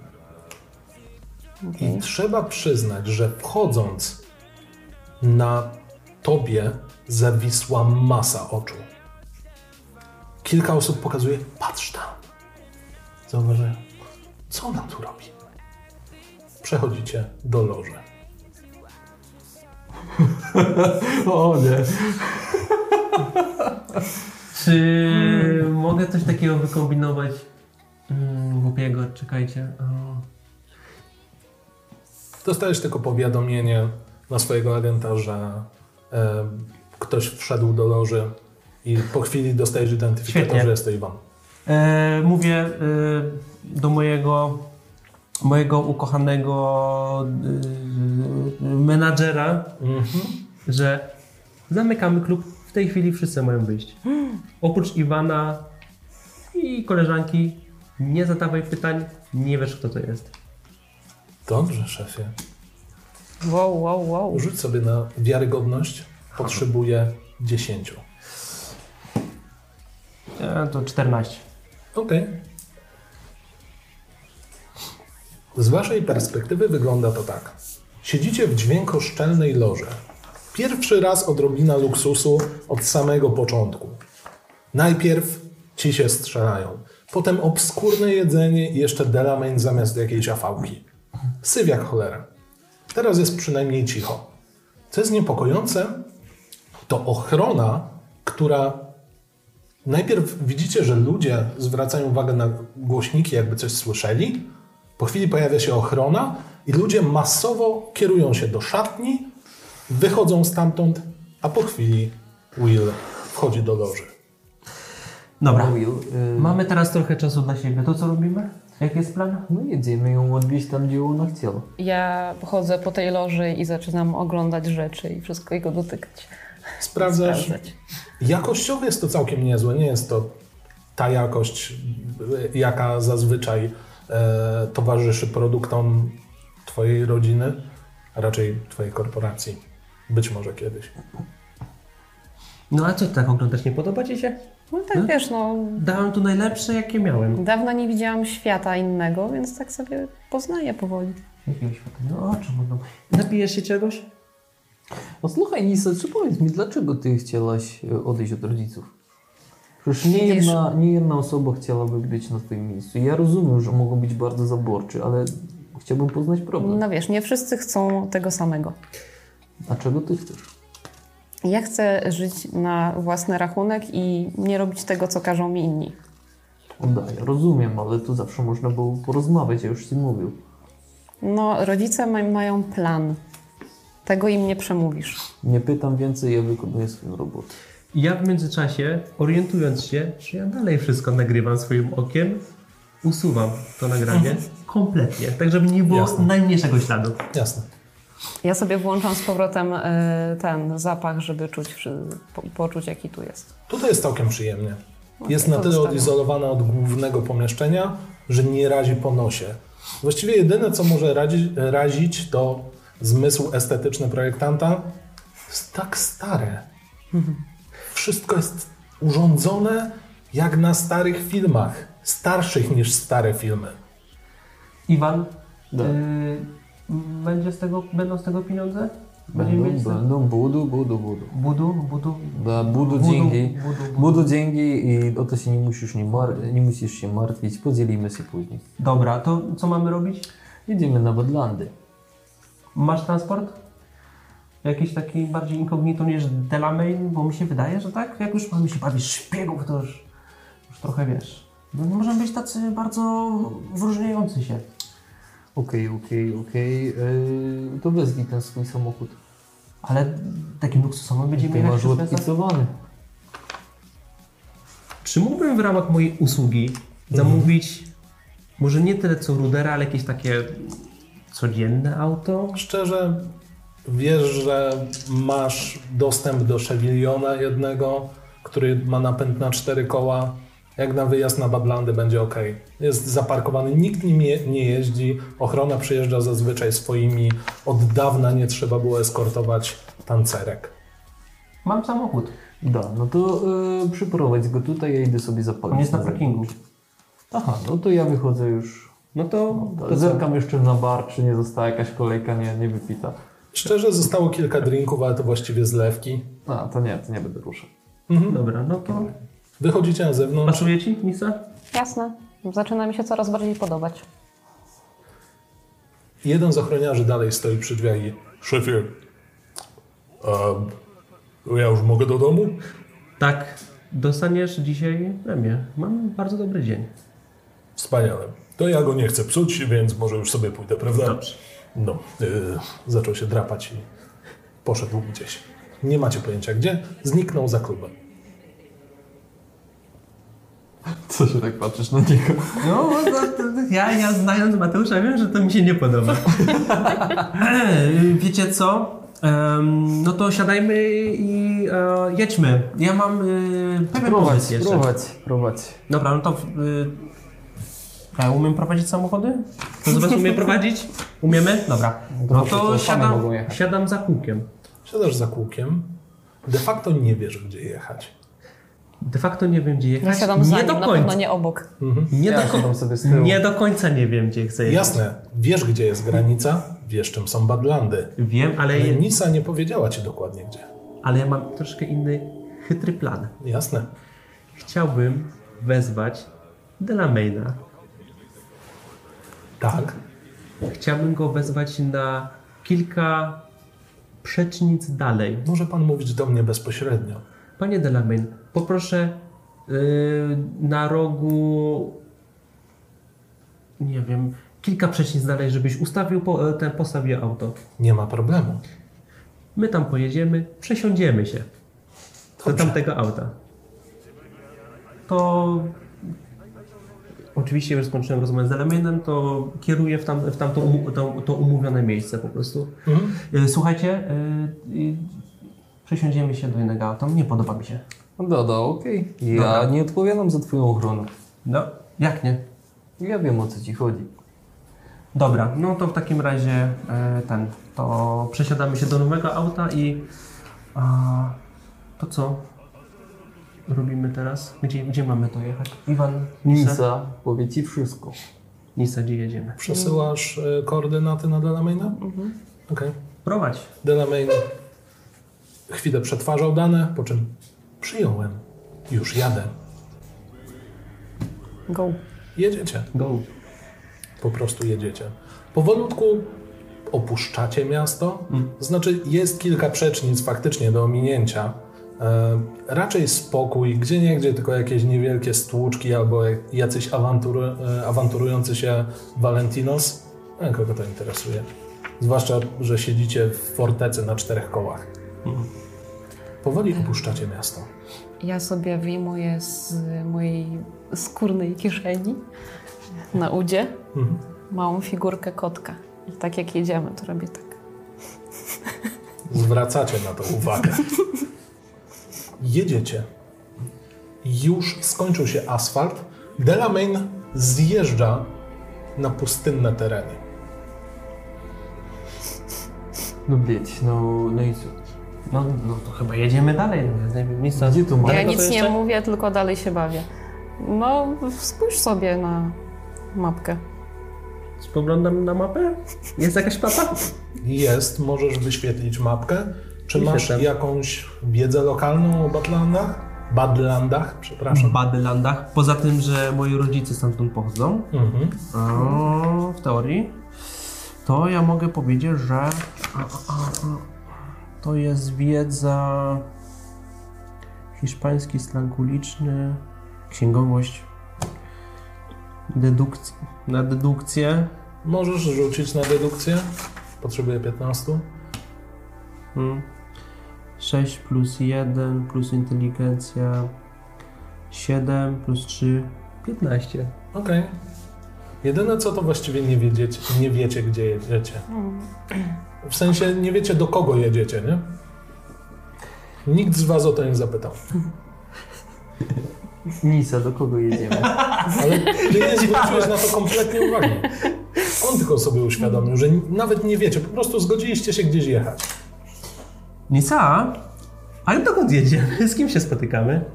Speaker 1: I trzeba przyznać, że wchodząc na tobie zawisła masa oczu. Kilka osób pokazuje, patrz tam. Zauważają, co ona tu robi. Przechodzicie do loży.
Speaker 3: O nie.
Speaker 2: Czy
Speaker 1: Mhm.
Speaker 2: mogę coś takiego wykombinować? Mm, głupiego, czekajcie. O.
Speaker 1: Dostajesz tylko powiadomienie na swojego agenta, że e, ktoś wszedł do loży i po chwili dostajesz identyfikator,
Speaker 2: Świetnie.
Speaker 1: że jest to Iwan.
Speaker 2: E, mówię e, do mojego, mojego ukochanego e, menadżera,
Speaker 1: Mhm.
Speaker 2: że zamykamy klub. W tej chwili wszyscy mają wyjść. Oprócz Iwana i koleżanki, nie zadawaj pytań, nie wiesz kto to jest.
Speaker 1: Dobrze, szefie.
Speaker 5: Wow, wow, wow.
Speaker 1: Rzuć sobie na wiarygodność. Potrzebuję 10.
Speaker 2: E, to 14.
Speaker 1: Okej. Z waszej perspektywy wygląda to tak. Siedzicie w dźwiękoszczelnej loży. Pierwszy raz odrobina luksusu od samego początku. Najpierw ci się strzelają, potem obskurne jedzenie i jeszcze delamain zamiast jakiejś afałki. Syf jak cholera. Teraz jest przynajmniej cicho. Co jest niepokojące, to ochrona, która Najpierw widzicie, że ludzie zwracają uwagę na głośniki, jakby coś słyszeli. Po chwili pojawia się ochrona i ludzie masowo kierują się do szatni, wychodzą stamtąd, a po chwili Will wchodzi do loży.
Speaker 2: Dobra.
Speaker 3: Will, y,
Speaker 2: Mamy teraz trochę czasu dla siebie. To co robimy? Jaki jest plan?
Speaker 3: No jedziemy ją odwieźć tam, gdzie ona chciała.
Speaker 5: Ja chodzę po tej loży i zaczynam oglądać rzeczy i wszystko jego dotykać.
Speaker 1: Sprawdzasz.
Speaker 5: Sprawdzać.
Speaker 1: Jakościowo jest to całkiem niezłe. Nie jest to ta jakość, y, jaka zazwyczaj e, towarzyszy produktom Twojej rodziny, a raczej Twojej korporacji. Być może kiedyś.
Speaker 2: No a co tak oglądasz? Nie podoba ci się?
Speaker 5: No tak wiesz, no.
Speaker 2: Dałem tu najlepsze jakie miałem.
Speaker 5: Dawno nie widziałam świata innego, więc tak sobie poznaję powoli.
Speaker 2: Jakiego świata? No o czym mówią? Napijesz się czegoś?
Speaker 3: No słuchaj Nisa, czy powiedz mi, dlaczego ty chciałaś e, odejść od rodziców? Przecież nie
Speaker 5: Widzisz-
Speaker 3: jedna, nie jedna osoba chciałaby być na twoim miejscu. Ja rozumiem, że mogą być bardzo zaborczy, ale chciałbym poznać problem.
Speaker 5: No wiesz, nie wszyscy chcą tego samego.
Speaker 3: A czego ty chcesz?
Speaker 5: Ja chcę żyć na własny rachunek i nie robić tego, co każą mi inni.
Speaker 3: Oddaję, rozumiem, ale tu zawsze można było porozmawiać, ja już ci mówił.
Speaker 5: No, rodzice ma- mają plan. Tego im nie przemówisz.
Speaker 3: Nie pytam więcej, ja wykonuję swoją robotę.
Speaker 2: Ja w międzyczasie, orientując się, że ja dalej wszystko nagrywam swoim okiem, usuwam to nagranie kompletnie, tak żeby nie było
Speaker 1: Jasne.
Speaker 2: najmniejszego śladu.
Speaker 1: Jasne.
Speaker 5: Ja sobie włączam z powrotem y, ten zapach, żeby czuć, wszy- po, poczuć jaki tu jest.
Speaker 1: Tutaj jest całkiem przyjemnie.
Speaker 5: Okej,
Speaker 1: Jest na
Speaker 5: to
Speaker 1: tyle
Speaker 5: zostawiam.
Speaker 1: odizolowana od głównego pomieszczenia, że nie razi po nosie. Właściwie jedyne, co może razić, razić to zmysł estetyczny projektanta. Jest tak stare. Wszystko jest urządzone jak na starych filmach. Starszych niż stare filmy.
Speaker 2: Iwan,
Speaker 3: Da.
Speaker 2: y, będzie z tego, będą z tego pieniądze? Będziemy
Speaker 4: Będą,
Speaker 2: mieć-
Speaker 4: będą, budu, budu, budu.
Speaker 2: Budu, budu,
Speaker 4: Da, budu,
Speaker 2: budu,
Speaker 4: dzięki.
Speaker 2: budu, budu.
Speaker 4: Budu dzięki i o to się nie musisz, nie, mar- nie musisz się martwić, podzielimy się później.
Speaker 2: Dobra, to co mamy robić?
Speaker 4: Jedziemy na Badlandy.
Speaker 2: Masz transport? Jakiś taki bardziej inkognito niż Delamain, bo mi się wydaje, że tak, jak już mamy się bawić szpiegów, to już, już trochę wiesz. No, możemy być tacy bardzo wyróżniający się.
Speaker 4: Okej, okej, okej.
Speaker 3: E,
Speaker 4: Yy, To wezwij ten swój samochód.
Speaker 2: Ale takim luksusowym będziemy
Speaker 4: Ty
Speaker 2: jechać
Speaker 4: masz
Speaker 2: przez miasto.
Speaker 4: odpicowany.
Speaker 2: Czy mógłbym w ramach mojej usługi zamówić może nie tyle co rudera, ale jakieś takie codzienne auto?
Speaker 1: Szczerze, wiesz, że masz dostęp do Chevillona jednego, który ma napęd na cztery koła. Jak na wyjazd na Badlandy będzie ok. Jest zaparkowany, nikt nim je, nie jeździ. Ochrona przyjeżdża zazwyczaj swoimi. Od dawna nie trzeba było eskortować tancerek.
Speaker 2: Mam samochód,
Speaker 4: Da, no to
Speaker 3: e,
Speaker 4: yy, przyprowadź go tutaj, ja idę sobie zapalić.
Speaker 2: on jest na
Speaker 4: zewnątrz.
Speaker 2: parkingu.
Speaker 4: Aha, no to ja wychodzę już.
Speaker 2: No to
Speaker 4: To
Speaker 3: To
Speaker 4: zerkam.
Speaker 3: zerkam jeszcze na bar, czy nie została jakaś kolejka nie, nie wypita.
Speaker 1: Szczerze, zostało kilka drinków, ale to właściwie zlewki.
Speaker 3: A, to nie, to nie będę ruszał.
Speaker 2: Dobra, no to
Speaker 1: Wychodzicie na zewnątrz.
Speaker 2: pasuje ci, Nisa?
Speaker 5: Jasne. Zaczyna mi się coraz bardziej podobać.
Speaker 1: Jeden z ochroniarzy dalej stoi przy drzwiach i... Szefie, a ja już mogę do domu?
Speaker 2: Tak, dostaniesz dzisiaj premię. Mam bardzo dobry dzień.
Speaker 1: Wspaniale. To ja go nie chcę psuć, więc może już sobie pójdę, prawda?
Speaker 2: Dobrze.
Speaker 1: No, yy, zaczął się drapać i poszedł gdzieś. Nie macie pojęcia gdzie. Zniknął za klubem.
Speaker 3: Co się tak patrzysz na niego?
Speaker 2: No, ja, ja znając Mateusza wiem, że to mi się nie podoba. Wiecie co? Em, no to siadajmy i e, jedźmy. Ja mam e, pewien
Speaker 3: Prowadź,
Speaker 2: pomysł jeszcze.
Speaker 3: prowadź, prowadź.
Speaker 2: Dobra, no to... E, ja umiem prowadzić samochody? To zobaczmy, umiem prowadzić? Umiemy? Dobra. No
Speaker 3: Dobrze,
Speaker 2: to
Speaker 3: to same
Speaker 2: siadam,
Speaker 3: mogą jechać.
Speaker 2: siadam za kółkiem.
Speaker 1: Siadasz za kółkiem. De facto nie wiesz, gdzie jechać.
Speaker 2: De facto nie wiem, gdzie
Speaker 5: Ja
Speaker 2: jechać.
Speaker 5: siadam za
Speaker 2: nie
Speaker 5: nim,
Speaker 2: do
Speaker 5: na pewno
Speaker 2: końca.
Speaker 5: nie obok.
Speaker 2: Nie
Speaker 3: Ja
Speaker 2: do końca.
Speaker 3: siadam sobie z tyłu.
Speaker 2: Nie do końca nie wiem, gdzie chcę jechać.
Speaker 1: Jasne, wiesz, gdzie jest granica, wiesz, czym są Badlandy.
Speaker 2: Wiem, ale,
Speaker 1: Ale Nisa nie powiedziała ci dokładnie gdzie.
Speaker 2: ale ja mam troszkę inny, chytry plan.
Speaker 1: Jasne.
Speaker 2: Chciałbym wezwać Delamaina.
Speaker 1: Tak.
Speaker 2: Chciałbym go wezwać na kilka przecznic dalej.
Speaker 1: Może pan mówić do mnie bezpośrednio.
Speaker 2: Panie Delamain, poproszę yy, na rogu. Nie wiem, kilka przecznic dalej, żebyś ustawił po, e, ten postawił auto.
Speaker 1: Nie ma problemu.
Speaker 2: My tam pojedziemy, przesiądziemy się do tamtego auta. To. Oczywiście już skończyłem rozmowę z Eleminem, to kieruję w, tam, w tamto um, to, to umówione miejsce po prostu.
Speaker 1: Hmm?
Speaker 2: Y, Słuchajcie, y, y, przesiądziemy się do innego auta. Nie podoba mi się.
Speaker 4: Da, da, okej. Ja
Speaker 2: Dobra.
Speaker 4: nie odpowiadam za twoją ochronę.
Speaker 2: No, jak nie?
Speaker 4: Ja wiem o co ci chodzi.
Speaker 2: Dobra, no to w takim razie y, ten. To przesiadamy się do nowego auta i. A, to co? Robimy teraz? Gdzie, gdzie mamy to jechać? Iwan, Nisa?
Speaker 4: Nisa powie ci wszystko.
Speaker 2: Nisa, gdzie jedziemy?
Speaker 1: Przesyłasz e, koordynaty na Delamaina? Mhm. Okej.
Speaker 2: Prowadź.
Speaker 1: Delamain chwilę przetwarzał dane, po czym przyjąłem. Już jadę.
Speaker 5: Go.
Speaker 1: Jedziecie.
Speaker 2: Go.
Speaker 1: Po prostu jedziecie. Powolutku opuszczacie miasto. Znaczy, jest kilka przecznic faktycznie do ominięcia. E, raczej spokój, gdzie nie gdzie, tylko jakieś niewielkie stłuczki albo jacyś awantur, e, awanturujący się Valentinos. E, kogo to interesuje? Zwłaszcza, że siedzicie w fortecy na czterech kołach. Powoli opuszczacie miasto.
Speaker 5: Ja sobie wyjmuję z mojej skórnej kieszeni na udzie
Speaker 1: Mhm.
Speaker 5: małą figurkę kotka. I tak jak jedziemy, to robię tak.
Speaker 1: Zwracacie na to uwagę. Jedziecie. Już skończył się asfalt. Delamain zjeżdża na pustynne tereny.
Speaker 4: No bieć, no, no i co?
Speaker 2: No, no to chyba jedziemy dalej. no, Nie wiem, Nisa.
Speaker 4: Gdzie tu ma?
Speaker 5: ja
Speaker 2: to
Speaker 5: nic nie
Speaker 2: jeszcze-
Speaker 5: mówię, tylko dalej się bawię. No, spójrz sobie na mapkę.
Speaker 2: Spoglądam na mapę. Jest jakaś mapa?
Speaker 1: Jest, możesz wyświetlić mapkę. Czy
Speaker 2: Piszę
Speaker 1: masz
Speaker 2: tam.
Speaker 1: jakąś wiedzę lokalną o Badlandach? Badlandach, przepraszam.
Speaker 2: Badelandach. Poza tym, że moi rodzice stamtąd pochodzą,
Speaker 1: Mhm.
Speaker 2: a, E, w teorii, to ja mogę powiedzieć, że a, a, a, a, to jest wiedza hiszpański slang uliczny, księgowość, dedukcja, na dedukcję.
Speaker 1: Możesz rzucić na dedukcję. Potrzebuję 15.
Speaker 2: Mm. 6 plus 1 plus inteligencja 7 plus 3 15.
Speaker 1: Okej. Jedyne co to właściwie nie, wiedzieć, nie wiecie, gdzie jedziecie. W sensie nie wiecie, do kogo jedziecie, nie? Nikt z was o to nie zapytał.
Speaker 3: Nisa, do kogo jedziemy?
Speaker 1: Ale ty nie zwróciłeś na to kompletnie uwagi. On tylko sobie uświadomił, że nawet nie wiecie, po prostu zgodziliście się gdzieś jechać.
Speaker 2: Nisa? Ale dokąd jedziemy? Z kim się spotykamy?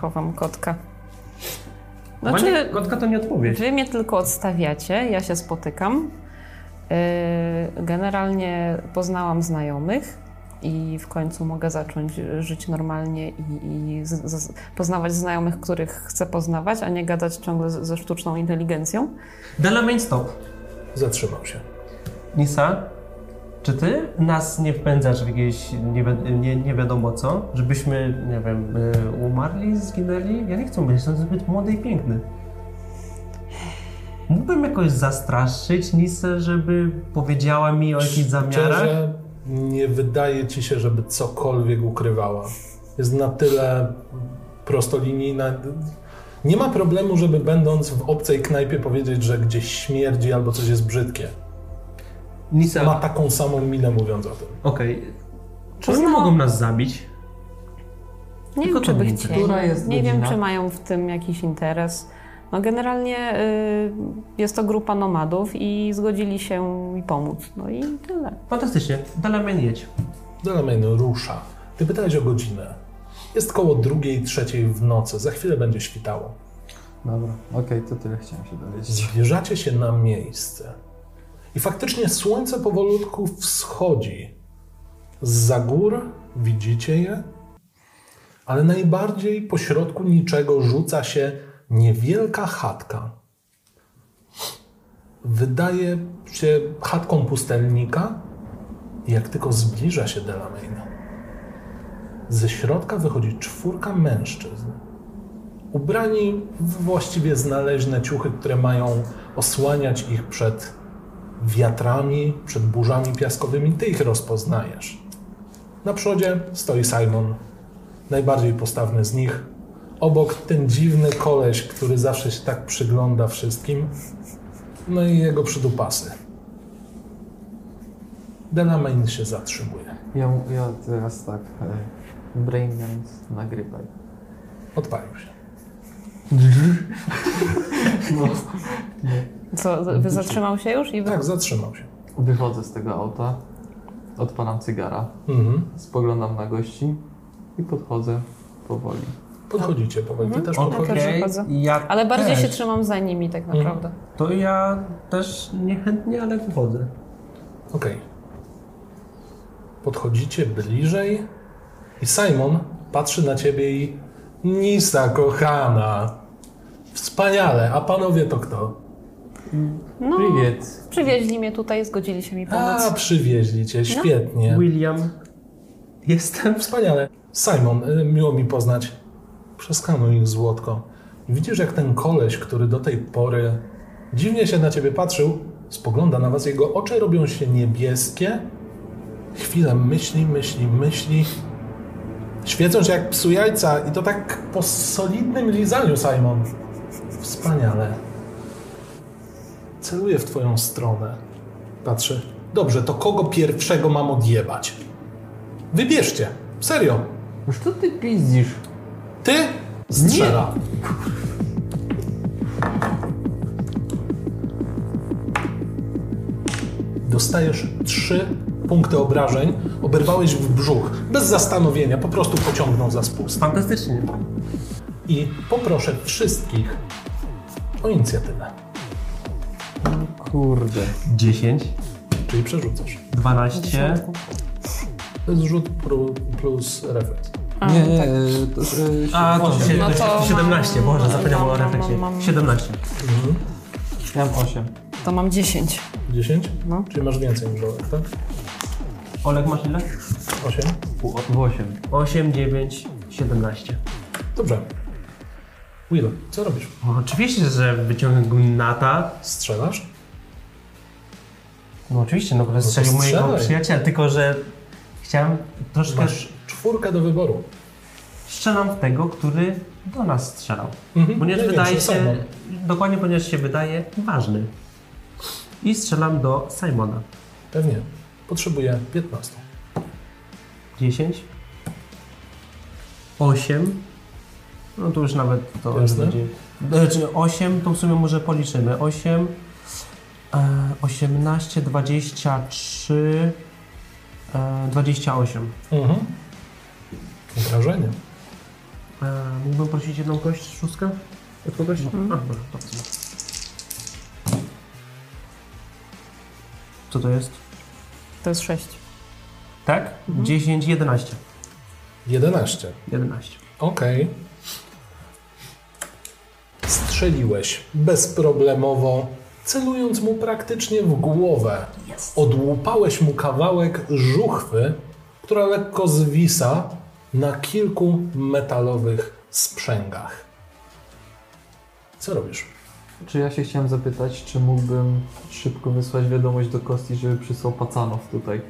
Speaker 5: Chowam kotka.
Speaker 2: Panie
Speaker 5: Znaczy,
Speaker 2: Kotka to nie odpowiedź.
Speaker 5: wy mnie tylko odstawiacie, ja się spotykam. Yy, Generalnie poznałam znajomych i w końcu mogę zacząć żyć normalnie i, i z, z, poznawać znajomych, których chcę poznawać, a nie gadać ciągle ze, ze sztuczną inteligencją.
Speaker 2: Delamain stop.
Speaker 1: Zatrzymał się.
Speaker 2: Nisa? Czy ty nas nie wpędzasz w jakieś nie, wi- nie, nie wiadomo co? Żebyśmy, nie wiem, y, umarli, zginęli? Ja nie chcę być, jestem zbyt młody i piękny. Mógłbym jakoś zastraszyć Nisę, żeby powiedziała mi o jakichś zamiarach?
Speaker 1: Szczerze, nie wydaje ci się, żeby cokolwiek ukrywała. Jest na tyle prostolinijna. Nie ma problemu, żeby będąc w obcej knajpie powiedzieć, że gdzieś śmierdzi albo coś jest brzydkie.
Speaker 2: Nisa,
Speaker 1: Ma
Speaker 2: okej.
Speaker 1: taką samą minę mówiąc o tym.
Speaker 2: Czy oni
Speaker 5: Poznałam-
Speaker 2: mogą nas zabić?
Speaker 5: Nie
Speaker 2: Tylko
Speaker 5: wiem, czy by
Speaker 2: czerwieńcy.
Speaker 5: chcieli.
Speaker 3: Która jest
Speaker 5: nie wiem,
Speaker 3: godzina?
Speaker 5: czy mają w tym jakiś interes. No generalnie y, jest to grupa nomadów i zgodzili się mi pomóc. No i tyle.
Speaker 2: Fantastycznie, Delamain jedź.
Speaker 1: Delamain rusza. Ty pytałeś o godzinę. Jest koło drugiej, trzeciej w nocy. Za chwilę będzie świtało.
Speaker 3: Dobra, okej, to tyle chciałem się dowiedzieć.
Speaker 1: Zbliżacie się na miejsce. I faktycznie słońce powolutku wschodzi. Zza gór widzicie je, ale najbardziej pośrodku niczego rzuca się niewielka chatka. Wydaje się chatką pustelnika, jak tylko zbliża się Delamain. Ze środka wychodzi czwórka mężczyzn ubrani w właściwie znaleźne ciuchy, które mają osłaniać ich przed wiatrami, przed burzami piaskowymi. Ty ich rozpoznajesz. Na przodzie stoi Simon, najbardziej postawny z nich. Obok ten dziwny koleś, który zawsze się tak przygląda wszystkim. No i jego przydupasy. Delamain się zatrzymuje.
Speaker 3: Ja, ja teraz tak, e, brain dance nagrywaj.
Speaker 1: Odpalił się.
Speaker 3: No,
Speaker 5: Co, wy zatrzymał się już i wy...
Speaker 1: Tak, zatrzymał się.
Speaker 3: wychodzę z tego auta, odpalam cygara,
Speaker 1: Mhm.
Speaker 3: spoglądam na gości i podchodzę powoli.
Speaker 1: Podchodzicie powoli. Ty też
Speaker 5: Ja
Speaker 1: podchodzisz.
Speaker 5: też wychodzę.
Speaker 2: ja
Speaker 5: Ale bardziej
Speaker 2: też.
Speaker 5: się trzymam za nimi tak
Speaker 3: Mhm.
Speaker 5: naprawdę.
Speaker 2: To ja też niechętnie, ale wychodzę.
Speaker 1: Okej. Podchodzicie bliżej i Simon patrzy na ciebie i Nisa, kochana. Wspaniale, a panowie to kto?
Speaker 5: No,
Speaker 3: Привет.
Speaker 5: przywieźli mnie tutaj, zgodzili się mi pomóc.
Speaker 1: A, przywieźli cię, świetnie.
Speaker 2: William, jestem
Speaker 1: Wspaniale. Simon, y, miło mi poznać. Przeskanuj ich złotko. Widzisz, jak ten koleś, który do tej pory dziwnie się na ciebie patrzył, spogląda na was, jego oczy robią się niebieskie. Chwilę myśli, myśli, myśli. Świecą się jak psu jajca i to tak po solidnym lizaniu, Simon. Wspaniale. Celuje w twoją stronę. Patrzy. Dobrze, to kogo pierwszego mam odjebać? Wybierzcie. Serio.
Speaker 3: Ну что ты пиздишь?
Speaker 1: Ty strzela. Dostajesz trzy punkty obrażeń. Oberwałeś w brzuch. Bez zastanowienia. Po prostu pociągnął za spust.
Speaker 2: fantastycznie.
Speaker 1: I poproszę wszystkich o inicjatywę.
Speaker 3: Kurde.
Speaker 2: 10,
Speaker 1: Czyli przerzucasz.
Speaker 2: 12,
Speaker 1: To jest rzut pru- plus refleks.
Speaker 5: A,
Speaker 3: nie, nie,
Speaker 5: tak.
Speaker 3: y, to, y,
Speaker 2: A, to
Speaker 3: osiem.
Speaker 2: się,
Speaker 5: No
Speaker 2: to
Speaker 5: to
Speaker 2: się 17,
Speaker 5: mam-
Speaker 2: Boże, zapomniałem o
Speaker 5: mam- mam-
Speaker 2: refleksie.
Speaker 5: mam-
Speaker 2: 17.
Speaker 3: Ja mam 8.
Speaker 5: To mam 10.
Speaker 1: 10?
Speaker 5: No.
Speaker 1: Czyli masz więcej niż Olek, tak?
Speaker 2: Olek masz ile?
Speaker 1: 8?
Speaker 3: W 8.
Speaker 2: 8, 9, 17.
Speaker 1: Dobrze. Willow, co robisz?
Speaker 2: No, oczywiście, że wyciągnę gnata.
Speaker 1: Strzelasz?
Speaker 2: No oczywiście, no bo strzelił
Speaker 1: strzelaj.
Speaker 2: mojego przyjaciela, tylko że chciałem troszkę...
Speaker 1: Masz czwórkę do wyboru.
Speaker 2: Strzelam w tego, który do nas strzelał.
Speaker 1: Mhm.
Speaker 2: Ponieważ
Speaker 1: Największy,
Speaker 2: wydaje się...
Speaker 1: Simon.
Speaker 2: Dokładnie, ponieważ się wydaje ważny. I strzelam do Simona.
Speaker 1: Pewnie. Potrzebuję 15.
Speaker 2: 10, 8, no to już nawet to
Speaker 1: Jasne.
Speaker 2: będzie. Znaczy 8, to w sumie może policzymy. 8, e, 18, 23, e, 28.
Speaker 1: Mhm. Wrażenie.
Speaker 2: E, mógłbym prosić jedną kość, szóstkę? Od kogoś? A, dobra, to wezmę. Co to jest?
Speaker 5: To jest 6.
Speaker 2: Tak? 10, 11.
Speaker 1: 11.
Speaker 2: 11.
Speaker 1: Okej. Strzeliłeś bezproblemowo, celując mu praktycznie w głowę. Odłupałeś mu kawałek żuchwy, która lekko zwisa na kilku metalowych sprzęgach. Co robisz?
Speaker 3: Czy ja się chciałem zapytać, czy mógłbym szybko wysłać wiadomość do Kosti, żeby przysłał pacanów tutaj?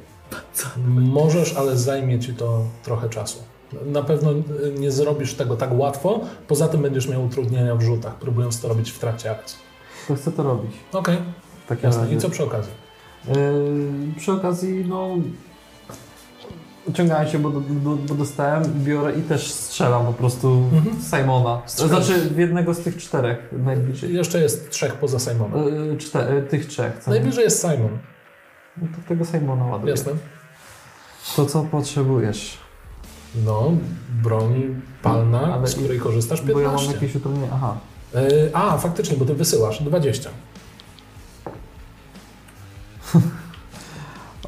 Speaker 1: Możesz, ale zajmie ci to trochę czasu. Na pewno e, nie zrobisz tego tak łatwo. Poza tym będziesz miał utrudnienia w rzutach, próbując to robić w trakcie akcji.
Speaker 3: To chcę to robić.
Speaker 1: Okej,
Speaker 3: W takim
Speaker 1: jasne.
Speaker 3: razie.
Speaker 1: I co przy okazji?
Speaker 3: Yy, przy okazji, no. Ciągałem się, bo, do- bo, bo dostałem, biorę i też strzelam po prostu
Speaker 1: Mhm.
Speaker 3: w Simona.
Speaker 1: Strzelasz.
Speaker 3: Znaczy w jednego z tych czterech najbliżej.
Speaker 1: Jeszcze jest trzech poza Simonem.
Speaker 3: Yy, czte, yy, tych trzech. co nie?
Speaker 1: Najbliżej jest Simon.
Speaker 3: No to tego Simona ładuję.
Speaker 1: Jasne.
Speaker 3: To co potrzebujesz?
Speaker 1: No, broń palna,
Speaker 3: Ale
Speaker 1: z której korzystasz
Speaker 3: Bo ja mam
Speaker 1: 15.
Speaker 3: jakieś utrudnienia. Aha.
Speaker 1: Yy, A, faktycznie, bo ty wysyłasz 20.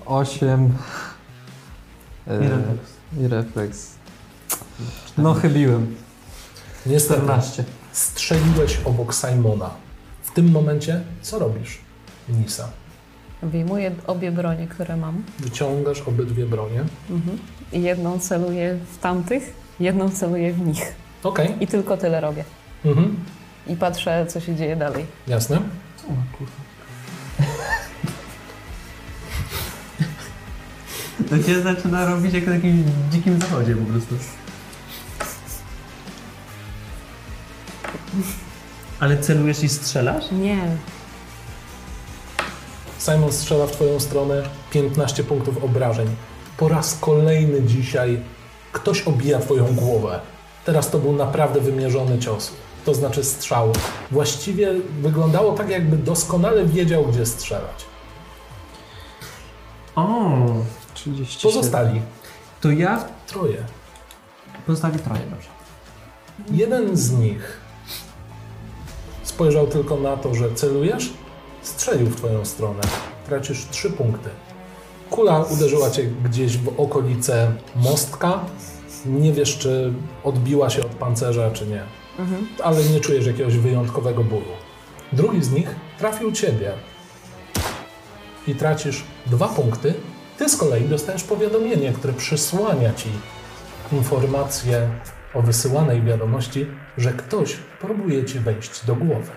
Speaker 3: 8 E,
Speaker 2: I refleks.
Speaker 3: I refleks. No chybiłem.
Speaker 1: Niestety,
Speaker 3: 14.
Speaker 1: strzeliłeś obok Simona. W tym momencie co robisz, Nisa?
Speaker 5: Wyjmuję obie bronie, które mam.
Speaker 1: Wyciągasz obydwie bronie.
Speaker 5: I jedną celuję w tamtych, jedną celuję w nich.
Speaker 1: Okej,
Speaker 5: I tylko tyle robię.
Speaker 1: mhm.
Speaker 5: I patrzę, co się dzieje dalej.
Speaker 1: jasne.
Speaker 2: To się zaczyna robić jak na jakimś dzikim zachodzie po prostu. Ale celujesz i strzelasz?
Speaker 5: Nie.
Speaker 1: Simon strzela w twoją stronę 15 punktów obrażeń. Po raz kolejny dzisiaj ktoś obija twoją głowę. Teraz to był naprawdę wymierzony cios. To znaczy strzał. Właściwie wyglądało tak, jakby doskonale wiedział, gdzie strzelać.
Speaker 2: O,
Speaker 3: 30.
Speaker 1: Pozostali
Speaker 2: to ja
Speaker 1: troje.
Speaker 2: pozostawię troje, dobrze.
Speaker 1: Jeden z nich spojrzał tylko na to, że celujesz, strzelił w twoją stronę. Tracisz trzy punkty. Kula uderzyła cię gdzieś w okolice mostka. Nie wiesz, czy odbiła się od pancerza, czy nie. Ale nie czujesz jakiegoś wyjątkowego bólu. Drugi z nich trafił ciebie. I tracisz dwa punkty. Ty z kolei dostajesz powiadomienie, które przysłania ci informację o wysyłanej wiadomości, że ktoś próbuje ci wejść do głowy.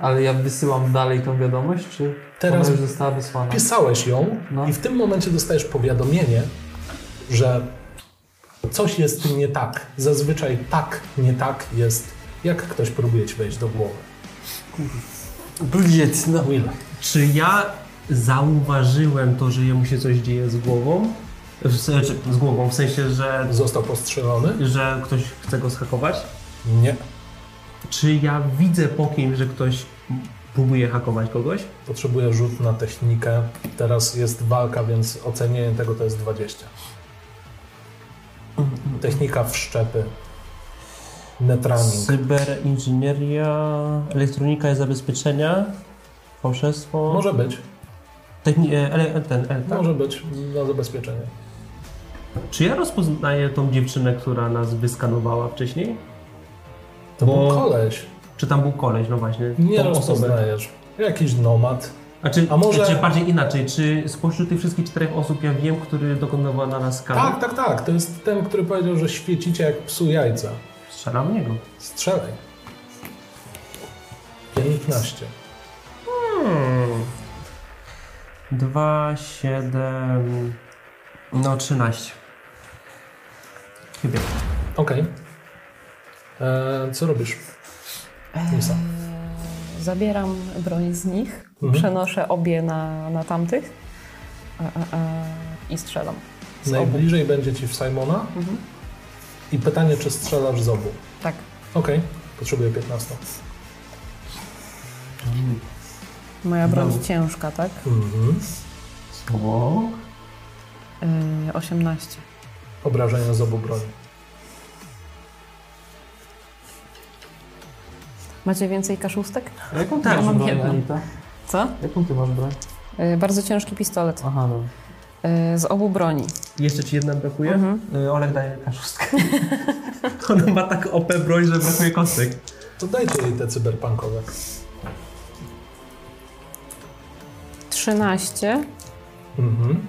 Speaker 3: Ale ja wysyłam dalej tą wiadomość, czy
Speaker 1: Teraz-
Speaker 3: ona już została wysłana?
Speaker 1: Pisałeś ją
Speaker 3: No.
Speaker 1: i w tym momencie dostajesz powiadomienie, że coś jest nie tak. Zazwyczaj tak, nie tak jest, jak ktoś próbuje ci wejść do głowy.
Speaker 3: Bliec, no.
Speaker 1: Will,
Speaker 2: Czy ja zauważyłem to, że jemu się coś dzieje z głową? W, se- czy z głową, w sensie, że,
Speaker 1: został postrzelony?
Speaker 2: że ktoś chce go zhakować?
Speaker 1: Nie.
Speaker 2: Czy ja widzę po kimś, że ktoś próbuje hakować kogoś?
Speaker 1: Potrzebuje rzut na technikę. Teraz jest walka, więc ocenienie tego to jest 20. Technika wszczepy. Netrunning.
Speaker 2: Cyber, inżynieria, elektronika i zabezpieczenia. Fałszerstwo?
Speaker 1: Może być,
Speaker 2: Techni- e, ele- ten, e, tak.
Speaker 1: może być na zabezpieczenie.
Speaker 2: Czy ja rozpoznaję tą dziewczynę, która nas wyskanowała wcześniej?
Speaker 1: To
Speaker 2: Bo-
Speaker 1: był koleś.
Speaker 2: Czy tam był koleś, no właśnie,
Speaker 1: Nie
Speaker 2: tą osobę?
Speaker 1: rozpoznajesz. Jakiś nomad.
Speaker 2: A, czy,
Speaker 1: A może-
Speaker 2: czy bardziej inaczej, czy spośród tych wszystkich czterech osób ja wiem, który dokonywał na nas kary?
Speaker 1: Tak, tak, tak. To jest ten, który powiedział, że świecicie jak psu jajca.
Speaker 2: Strzelam w niego.
Speaker 1: Strzelaj. 15.
Speaker 2: Hmm. Dwa, siedem, no trzynaście. Chyba.
Speaker 1: Okej. E, Co robisz? Lisa.
Speaker 5: Eee, Zabieram broń z nich,
Speaker 1: Mhm.
Speaker 5: przenoszę obie na, na tamtych e, e, e, i strzelam. Z obu.
Speaker 1: Najbliżej będzie ci w Simona.
Speaker 5: Mhm.
Speaker 1: I pytanie, czy strzelasz z obu.
Speaker 5: Tak.
Speaker 1: Okej, potrzebuję 15.
Speaker 5: Moja broń ciężka, tak?
Speaker 1: Mhm.
Speaker 4: O,
Speaker 5: Yy, 18.
Speaker 1: Obrażenia z obu broni.
Speaker 5: Macie więcej kaszustek?
Speaker 3: Jaką
Speaker 5: Tak, mam
Speaker 3: broń,
Speaker 5: jedną.
Speaker 3: Anita?
Speaker 5: Co?
Speaker 3: Jaką ty masz broń?
Speaker 5: Yy, bardzo ciężki pistolet.
Speaker 3: Aha, no. dobra.
Speaker 5: Yy, z obu broni.
Speaker 2: Jeszcze ci jedna brakuje?
Speaker 5: Mhm.
Speaker 2: Y, Olek daje kaszustkę. Ona ma tak OP broń, że brakuje kostek.
Speaker 1: To dajcie jej te cyberpunkowe.
Speaker 5: 13.
Speaker 1: Mhm.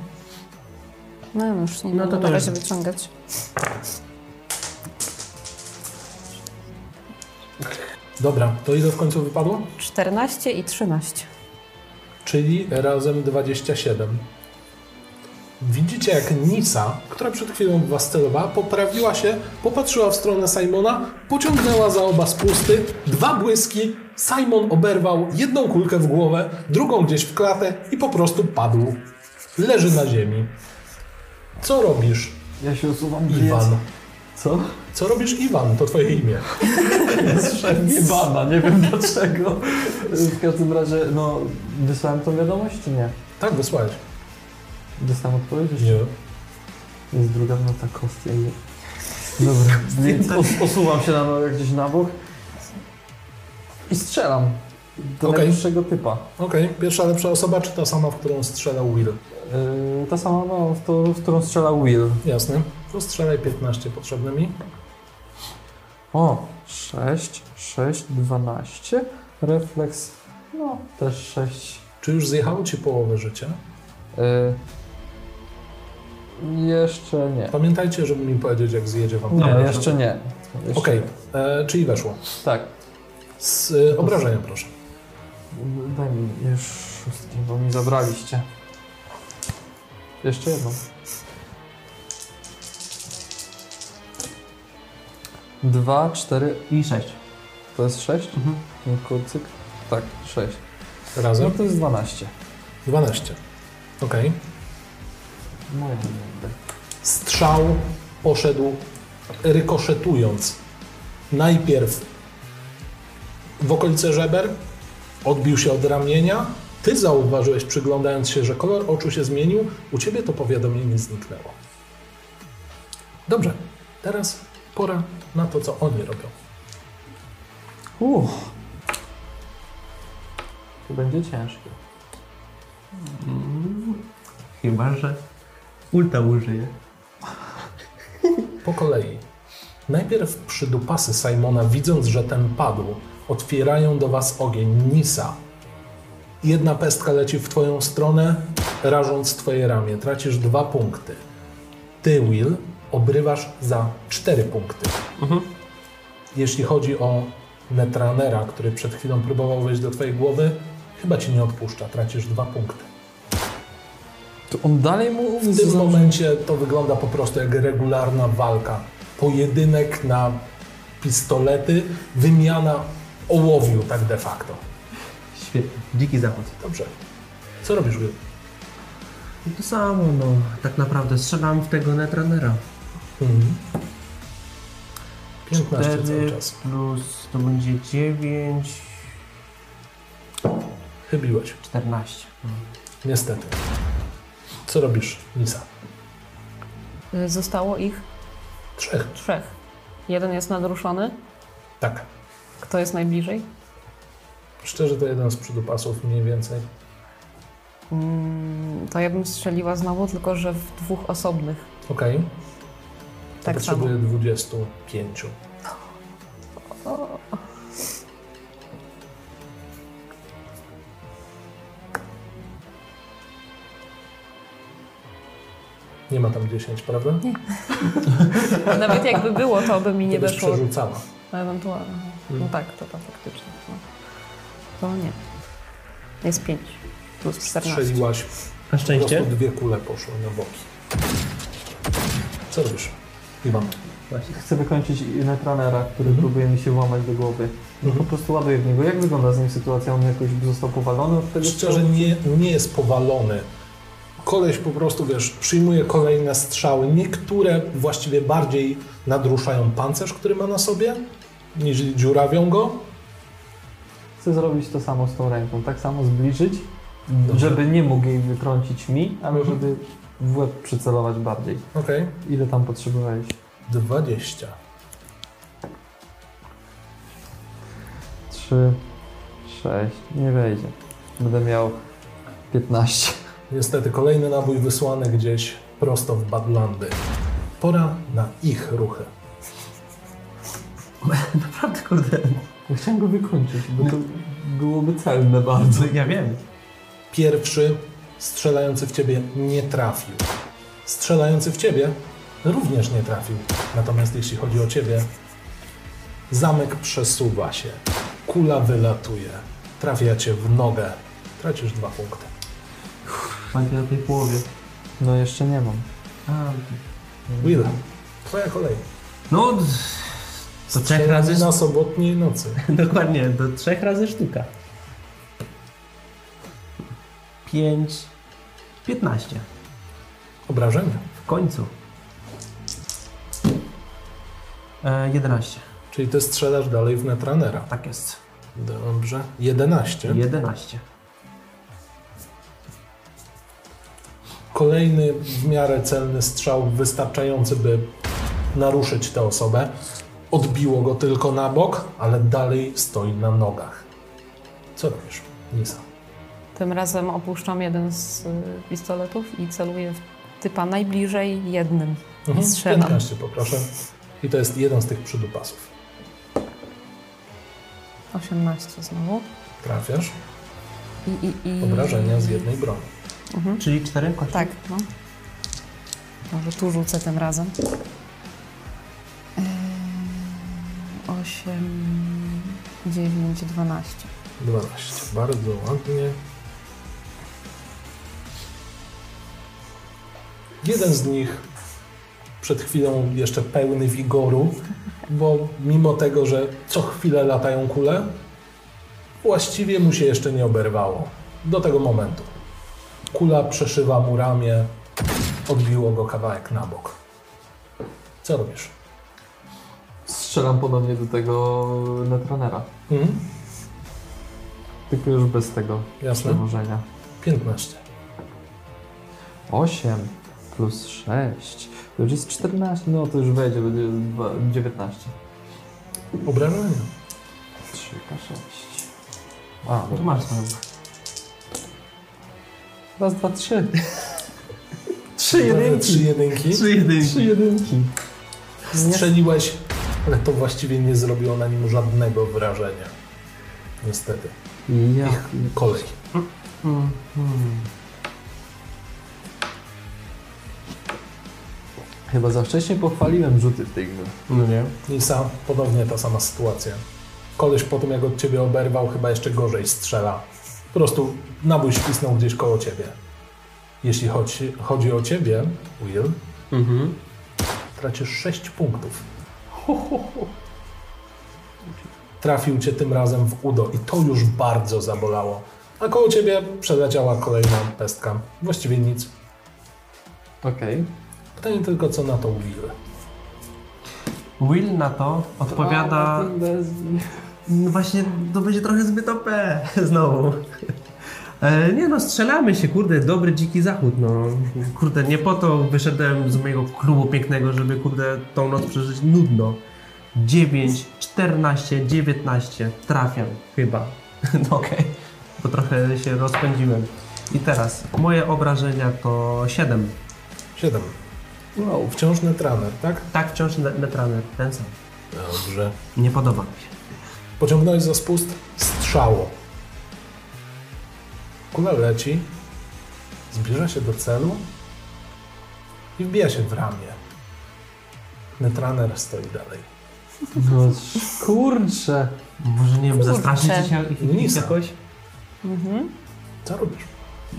Speaker 5: No już nie
Speaker 2: No
Speaker 5: no
Speaker 2: to
Speaker 5: to
Speaker 2: to
Speaker 5: na razie
Speaker 2: już-
Speaker 5: wyciągać.
Speaker 1: Dobra, to ile w końcu wypadło?
Speaker 5: 14 i 13.
Speaker 1: czyli razem 27. Widzicie, jak Nisa, która przed chwilą w was celowała, poprawiła się, popatrzyła w stronę Simona, pociągnęła za oba spusty, dwa błyski. Simon oberwał jedną kulkę w głowę, drugą gdzieś w klatę i po prostu padł. Leży na ziemi. Co robisz,
Speaker 3: Ja się usuwam
Speaker 1: Iwan?
Speaker 3: Co?
Speaker 1: Co robisz, Iwan? To twoje imię.
Speaker 3: Nie bana, nie wiem dlaczego. W każdym razie, no, wysłałem tą wiadomość czy nie?
Speaker 1: Tak, wysłałeś.
Speaker 3: Dostałem odpowiedź? jeszcze?
Speaker 1: Nie.
Speaker 3: Jest druga nota kostia. i- Dobra, więc os- osuwam się na nogę gdzieś na bok i strzelam do
Speaker 1: Okej.
Speaker 3: najbliższego typa.
Speaker 1: Okej, pierwsza lepsza osoba, czy ta sama, w którą strzelał Will?
Speaker 3: Yy, ta sama, no, w, to, w którą strzela Will.
Speaker 1: Jasne. To strzelaj 15 potrzebne mi.
Speaker 3: O, 6, 6, 12. Refleks, no, też 6.
Speaker 1: Czy już zjechało ci połowę życia?
Speaker 3: Yy, jeszcze nie.
Speaker 1: Pamiętajcie, żeby mi powiedzieć, jak zjedzie wam.
Speaker 3: Nie,
Speaker 2: Dobra,
Speaker 3: jeszcze nie. Jeszcze
Speaker 1: Okej,
Speaker 3: nie.
Speaker 1: e, czyli weszło.
Speaker 3: Tak.
Speaker 1: Z e, obrażenia proszę.
Speaker 3: Daj mi już szóstki, bo mi zabraliście. Jeszcze jedną. Dwa, cztery,
Speaker 2: I sześć.
Speaker 3: to jest sześć?
Speaker 2: Mhm.
Speaker 3: Kurcyk? Tak, sześć. No
Speaker 1: Razem.
Speaker 3: to jest dwanaście.
Speaker 1: 12. Okej.
Speaker 3: Moja No, nie będę.
Speaker 1: Strzał poszedł rykoszetując. Najpierw w okolice żeber, odbił się od ramienia. Ty zauważyłeś, przyglądając się, że kolor oczu się zmienił. U ciebie to powiadomienie zniknęło. Dobrze, teraz pora na to, co oni robią.
Speaker 3: Uff. To będzie ciężkie.
Speaker 2: Chyba, że ulta użyje.
Speaker 1: Po kolei. Najpierw przydupasy Simona, widząc, że ten padł, otwierają do was ogień Nisa. Jedna pestka leci w twoją stronę, rażąc twoje ramię. Tracisz dwa punkty. Ty, Will, obrywasz za cztery punkty. Jeśli chodzi o Netranera, który przed chwilą próbował wejść do twojej głowy, chyba ci nie odpuszcza. Tracisz dwa punkty.
Speaker 3: To on dalej mu
Speaker 1: W tym momencie to wygląda po prostu jak regularna walka. Pojedynek na pistolety, wymiana ołowiu tak de facto.
Speaker 2: Świetnie. Dziki zachód.
Speaker 1: Dobrze. Co robisz, Will?
Speaker 2: No to samo, no. Tak naprawdę strzelam w tego netranera.
Speaker 1: 15 cały
Speaker 2: Cztery
Speaker 1: czas.
Speaker 2: plus to będzie 9,
Speaker 1: Chybiłeś.
Speaker 2: 14.
Speaker 1: Niestety. Co robisz, Nisa?
Speaker 5: Yy, zostało ich
Speaker 1: Trzech.
Speaker 5: trzech. Jeden jest nadruszony.
Speaker 1: Tak.
Speaker 5: Kto jest najbliżej?
Speaker 1: Szczerze to jeden z przydupasów mniej więcej.
Speaker 5: Mm, to ja bym strzeliła znowu, tylko że w dwóch osobnych.
Speaker 1: Okej.
Speaker 5: Tak
Speaker 1: Potrzebuję 25. Nie ma tam 10, prawda? Nie,
Speaker 5: samo. Nawet jakby było, to by mi nie weszło.
Speaker 1: przerzucała.
Speaker 5: Ewentualnie.
Speaker 1: Mm.
Speaker 5: No tak, to tam faktycznie. No. To nie. Jest 5 plus 14.
Speaker 1: Strzeliłaś.
Speaker 2: Na
Speaker 1: Po
Speaker 2: szczęście.
Speaker 1: prostu dwie kule poszły na boki. Co robisz? Iwan.
Speaker 3: Chcę wykończyć netrunnera, który próbuje mi się włamać do głowy. No po prostu ładuję w niego. Jak wygląda z nim sytuacja? On jakoś został powalony od tego
Speaker 1: Szczerze nie, nie jest powalony. Koleś po prostu, wiesz, przyjmuje kolejne strzały. Niektóre właściwie bardziej nadruszają pancerz, który ma na sobie, niż dziurawią go.
Speaker 3: Chcę zrobić to samo z tą ręką, tak samo zbliżyć,
Speaker 1: Dobrze.
Speaker 3: żeby nie mógł jej wytrącić mi, ale
Speaker 1: Mhm.
Speaker 3: żeby w łeb przycelować bardziej.
Speaker 1: Okej.
Speaker 3: Ile tam potrzebowałeś?
Speaker 1: 20.
Speaker 3: 3, 6, nie wejdzie. Będę miał 15.
Speaker 1: Niestety kolejny nabój wysłany gdzieś prosto w Badlandy. Pora na ich ruchy.
Speaker 4: Naprawdę, kurde.
Speaker 3: Ja chciałem go wykończyć, bo to byłoby celne bardzo.
Speaker 4: Bardzo. Ja wiem.
Speaker 1: Pierwszy strzelający w ciebie nie trafił. Strzelający w ciebie również nie trafił. Natomiast jeśli chodzi o ciebie, zamek przesuwa się. Kula wylatuje. Trafia cię w nogę. Tracisz dwa punkty.
Speaker 4: Pamiętaj na tej połowie.
Speaker 3: No jeszcze nie mam.
Speaker 4: A,
Speaker 1: Will, twoja kolej.
Speaker 4: no, d- to trzech razy.
Speaker 1: Na sobotniej nocy.
Speaker 2: Dokładnie, do trzech razy sztuka. Pięć, piętnaście.
Speaker 1: Obrażenia.
Speaker 2: W końcu. E, 11.
Speaker 1: Czyli ty strzelasz dalej w netranera.
Speaker 2: Tak jest.
Speaker 1: Dobrze. 11.
Speaker 2: 11.
Speaker 1: Kolejny w miarę celny strzał, wystarczający, by naruszyć tę osobę. Odbiło go tylko na bok, ale dalej stoi na nogach. Co robisz, Nisa?
Speaker 5: Tym razem opuszczam jeden z y, pistoletów i celuję w typa najbliżej jednym.
Speaker 1: Mhm.
Speaker 5: Strzelam.
Speaker 1: 15 poproszę. I to jest jeden z tych przydupasów.
Speaker 5: 18 znowu.
Speaker 1: Trafiasz,
Speaker 5: I, i, i...
Speaker 1: obrażenia z jednej broni.
Speaker 5: Mhm.
Speaker 2: Czyli 4 kości.
Speaker 5: Tak, no. Może tu rzucę tym razem. Yy, 8, 9, 12.
Speaker 1: 12. Bardzo ładnie. Jeden z nich przed chwilą jeszcze pełny wigoru, bo mimo tego, że co chwilę latają kule, właściwie mu się jeszcze nie oberwało. Do tego momentu. Kula przeszywa mu ramię, odbiło go kawałek na bok. Co robisz?
Speaker 3: Strzelam podobnie do tego netrunnera.
Speaker 1: Mhm,
Speaker 3: Tylko już bez tego
Speaker 1: jasne.
Speaker 3: przewożenia.
Speaker 1: 15.
Speaker 3: 8 plus 6 to już jest 14, no to już wejdzie, będzie dwa- 19.
Speaker 1: Obrażenia.
Speaker 3: 3K6. A, no
Speaker 4: Tu masz tam.
Speaker 3: raz, dwa, trzy.
Speaker 1: Trzy jedynki. Trzy jedynki.
Speaker 3: Trzy jedynki.
Speaker 1: Strzeliłeś, ale to właściwie nie zrobiło na nim żadnego wrażenia. Niestety.
Speaker 3: Ja.
Speaker 1: Kolej.
Speaker 2: Hmm,
Speaker 3: Chyba za wcześnie pochwaliłem rzuty w tej grze.
Speaker 2: No nie.
Speaker 1: Nisa, ponownie ta sama sytuacja. Koleś po tym, jak od ciebie oberwał, chyba jeszcze gorzej strzela. Po prostu nabój świsnął gdzieś koło ciebie. Jeśli chodzi, chodzi o ciebie, Will,
Speaker 2: Mhm.
Speaker 1: tracisz 6 punktów. Trafił cię tym razem w udo i to już bardzo zabolało. A koło ciebie przeleciała kolejna pestka. Właściwie nic.
Speaker 3: Okej.
Speaker 1: Pytanie tylko, co na to Will.
Speaker 2: Will na to odpowiada. No właśnie, to będzie trochę zbyt OP znowu. E, Nie no, strzelamy się, kurde, dobry dziki zachód, no. Kurde, nie po to wyszedłem z mojego klubu pięknego, żeby kurde tą noc przeżyć nudno. 9, 14, 19, trafiam chyba. No okej. Bo trochę się rozpędziłem. I teraz, moje obrażenia to 7.
Speaker 1: 7. Wow, No, wciąż netraner, tak?
Speaker 2: Tak wciąż net- netrany, ten sam.
Speaker 1: Dobrze.
Speaker 2: Nie podoba mi się.
Speaker 1: Pociągnąłeś za spust strzało. Kula leci, zbliża się do celu i wbija się w ramię. Netraner stoi dalej.
Speaker 3: No kurczę.
Speaker 2: Może nie wiem,
Speaker 5: Kurczę.
Speaker 2: zastraszyć się
Speaker 1: Nie.
Speaker 2: ich- ich jakoś?
Speaker 5: Mhm.
Speaker 1: Co robisz?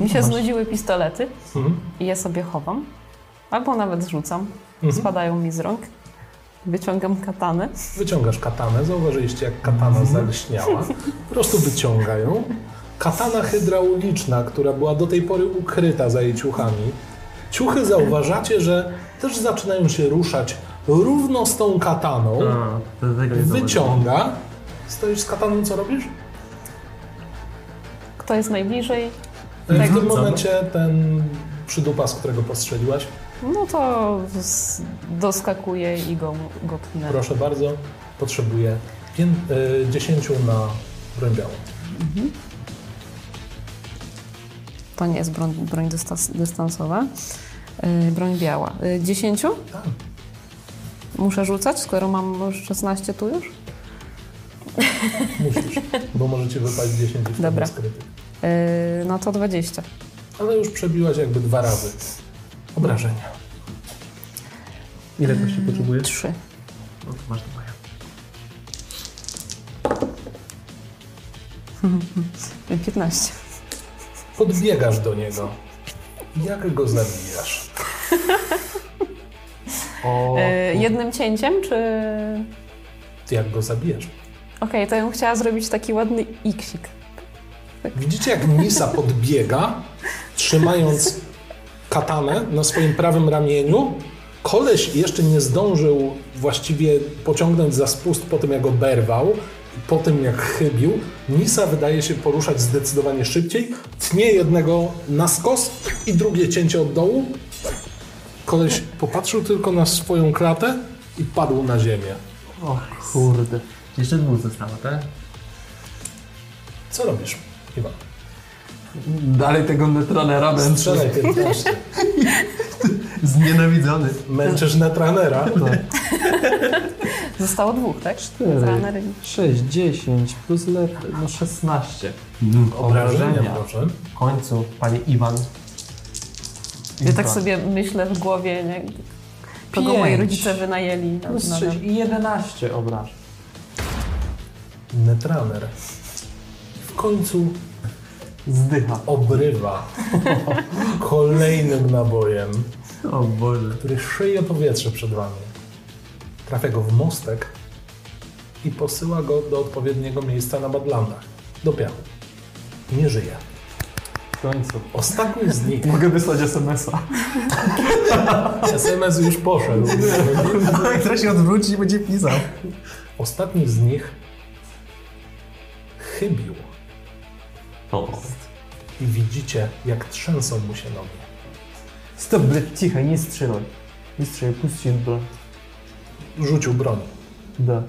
Speaker 5: Mi się znudziły pistolety
Speaker 1: Mhm.
Speaker 5: i je sobie chowam. Albo nawet rzucam. Spadają mi z rąk. Wyciągam katanę.
Speaker 1: Wyciągasz katanę, zauważyliście jak katana zalśniała. Po prostu wyciąga ją. Katana hydrauliczna, która była do tej pory ukryta za jej ciuchami. Ciuchy zauważacie, że też zaczynają się ruszać równo z tą kataną.
Speaker 2: A, to tego nie zauważyłem.
Speaker 1: Wyciąga. Stoisz z kataną, co robisz?
Speaker 5: Kto jest najbliżej?
Speaker 1: W tym
Speaker 2: Wrzucam.
Speaker 1: momencie ten przydupa, z którego postrzeliłaś,
Speaker 5: No to z- doskakuję i go, go pnę.
Speaker 1: proszę bardzo, potrzebuje pię- y, 10 na broń białą.
Speaker 5: To nie jest broń, broń dystans, dystansowa. Yy, broń biała. Yy, 10?
Speaker 1: Tak.
Speaker 5: Muszę rzucać, skoro mam 16 tu już?
Speaker 1: Musisz, bo możecie wypaść 10 i wtedy
Speaker 5: Dobra.
Speaker 1: jest krytyk.
Speaker 5: Yy, no to 20.
Speaker 1: Ale już przebiłaś jakby dwa razy obrażenia.
Speaker 2: Ile kości potrzebujesz?
Speaker 5: 3.
Speaker 2: No to masz moja.
Speaker 5: 15.
Speaker 1: Podbiegasz do niego. Jak go zabijasz?
Speaker 3: O,
Speaker 5: Yy, jednym cięciem, czy...
Speaker 1: Jak go zabijasz?
Speaker 5: Okej, to ja bym chciała zrobić taki ładny iksik.
Speaker 1: Widzicie, jak Nisa podbiega, trzymając katanę na swoim prawym ramieniu. Koleś jeszcze nie zdążył właściwie pociągnąć za spust po tym, jak go berwał, po tym, jak chybił. Nisa wydaje się poruszać zdecydowanie szybciej. Tnie jednego na skos i drugie cięcie od dołu. Koleś popatrzył tylko na swoją klatę i padł na ziemię.
Speaker 4: O kurde.
Speaker 2: Jeszcze dwóch zostało, tak?
Speaker 1: Co robisz, Iwan?
Speaker 4: Dalej tego netranera męczę.
Speaker 1: Strzelaj 15.
Speaker 2: Znienawidzony.
Speaker 1: Męczysz netranera.
Speaker 5: Zostało dwóch, tak?
Speaker 3: Cztery.
Speaker 5: Zaner-
Speaker 3: 6, 10 plus lep, no 16.
Speaker 1: Mm, Obrażenia, proszę.
Speaker 2: W końcu, panie Iwan.
Speaker 5: Ja tak sobie myślę w głowie, nie? kogo moi
Speaker 3: Pięć.
Speaker 5: rodzice wynajęli. Na,
Speaker 3: Plus
Speaker 5: na,
Speaker 3: 6 i 11 obrażeń.
Speaker 1: Netrunner w końcu
Speaker 3: Zdycha.
Speaker 1: obrywa kolejnym nabojem,
Speaker 2: O Boże.
Speaker 1: który szyje powietrze przed wami. Trafia go w mostek i posyła go do odpowiedniego miejsca na Badlandach, do piachu. Nie żyje.
Speaker 3: W końcu.
Speaker 1: Ostatni z nich,
Speaker 3: Mogę wysłać SMS-a.
Speaker 1: SMS już poszedł,
Speaker 2: Kto Tak, się odwróci i będzie pisał.
Speaker 1: ostatni z nich chybił i widzicie, jak trzęsą mu się nogi.
Speaker 3: Stop, ble, cicho, nie strzelaj. Nie strzelaj, puść się, broń.
Speaker 1: Rzucił broń.
Speaker 3: Da.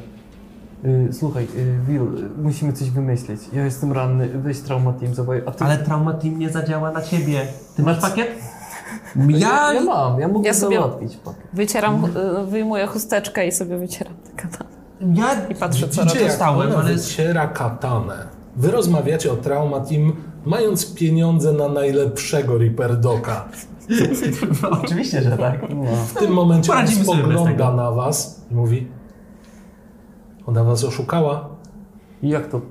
Speaker 3: Y, słuchaj, y, Will, y, musimy coś wymyślić. Ja jestem ranny, weź traumatim, zawołaj. A ty...
Speaker 2: Ale trauma team nie zadziała na ciebie. Ty masz pakiet?
Speaker 3: Ja, ja mam, ja mogę
Speaker 5: Ja sobie-
Speaker 3: załatwić. pakiet.
Speaker 5: Wycieram, y, wyjmuję chusteczkę i sobie wycieram tę katanę.
Speaker 2: Ja
Speaker 5: I patrzę, co
Speaker 1: Widzicie,
Speaker 5: robię.
Speaker 1: jak
Speaker 2: Dostałem,
Speaker 1: ona
Speaker 2: ale-
Speaker 1: wyciera katanę. Wy rozmawiacie o Trauma Team, mając pieniądze na najlepszego Reaper Doka.
Speaker 2: Oczywiście, że tak.
Speaker 1: W tym momencie on
Speaker 2: Poradzimy sobie bez
Speaker 1: spogląda
Speaker 2: tego.
Speaker 1: na was i mówi Ona was oszukała.
Speaker 3: Jak to?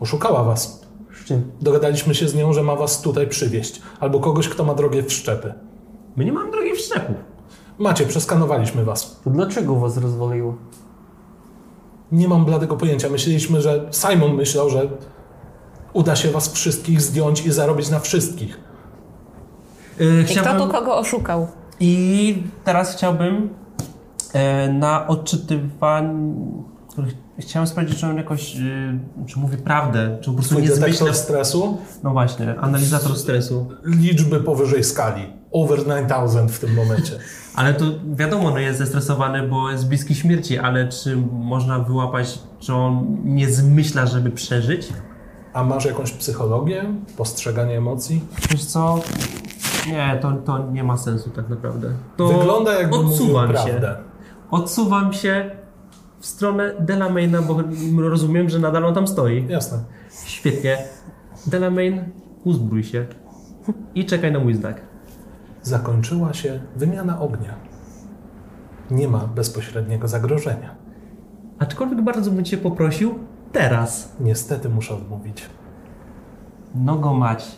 Speaker 1: Oszukała was.
Speaker 3: Z czym?
Speaker 1: Dogadaliśmy się z nią, że ma was tutaj przywieźć. Albo kogoś, kto ma drogie wszczepy.
Speaker 2: My nie mamy drogi wszczepu.
Speaker 1: Macie, przeskanowaliśmy was.
Speaker 3: To dlaczego was rozwaliło?
Speaker 1: Nie mam bladego pojęcia. Myśleliśmy, że Simon myślał, że uda się was wszystkich zdjąć i zarobić na wszystkich.
Speaker 2: Yy,
Speaker 5: I kto tu kogo oszukał?
Speaker 2: I teraz chciałbym e, na odczytywaniu... Chciałem sprawdzić, czy on jakoś, e, czy mówi prawdę, czy po prostu
Speaker 1: Twój
Speaker 2: nie zmyśla...
Speaker 1: detektor stresu
Speaker 2: No właśnie, analizator stresu.
Speaker 1: liczby powyżej skali. Over 9000 w tym momencie.
Speaker 2: Ale to wiadomo, no jest zestresowany, bo jest bliski śmierci, ale czy można wyłapać, czy on nie zmyśla, żeby przeżyć?
Speaker 1: A masz jakąś psychologię, postrzeganie emocji?
Speaker 2: Wiesz co? Nie, to, to nie ma sensu tak naprawdę. To
Speaker 1: Wygląda jakby mówił
Speaker 2: odsuwam się.
Speaker 1: prawdę.
Speaker 2: Odsuwam się w stronę Delamaina, bo rozumiem, że nadal on tam stoi.
Speaker 1: Jasne.
Speaker 2: Świetnie. Delamain, uzbrój się. I czekaj na mój znak.
Speaker 1: Zakończyła się wymiana ognia. Nie ma bezpośredniego zagrożenia.
Speaker 2: Aczkolwiek bardzo bym cię poprosił teraz.
Speaker 1: Niestety muszę odmówić.
Speaker 2: Nogo mać.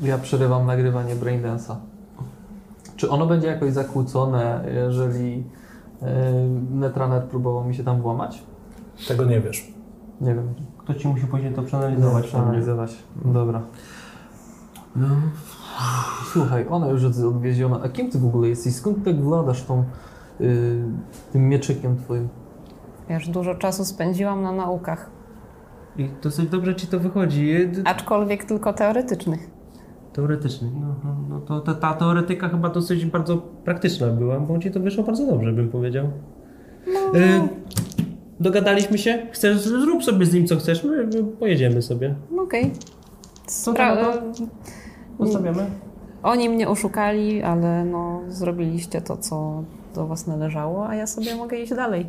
Speaker 3: Ja przerywam nagrywanie Braindance'a. Czy ono będzie jakoś zakłócone, jeżeli yy, Netrunner próbował mi się tam włamać?
Speaker 1: Tego nie wiesz.
Speaker 3: Nie wiem.
Speaker 2: Kto ci musi później to przeanalizować?
Speaker 3: Analizować. Dobra. No. Słuchaj, ona już jest odwieziona. A kim ty w ogóle jesteś? Skąd tak władasz tą, y, tym mieczykiem twoim?
Speaker 5: Wiesz, dużo czasu spędziłam na naukach,
Speaker 2: Tak. I dosyć dobrze ci to wychodzi.
Speaker 5: aczkolwiek tylko teoretycznych.
Speaker 2: Teoretycznie. No, no, no to ta, ta teoretyka chyba dosyć bardzo praktyczna była, bo ci to wyszło bardzo dobrze, bym powiedział. Y, dogadaliśmy się? Chcesz, zrób sobie z nim co chcesz, my, my pojedziemy sobie.
Speaker 5: No Okej.
Speaker 2: Co to na to? Zostawiamy?
Speaker 5: Oni mnie oszukali, ale no, zrobiliście to, co do was należało, a ja sobie mogę iść dalej.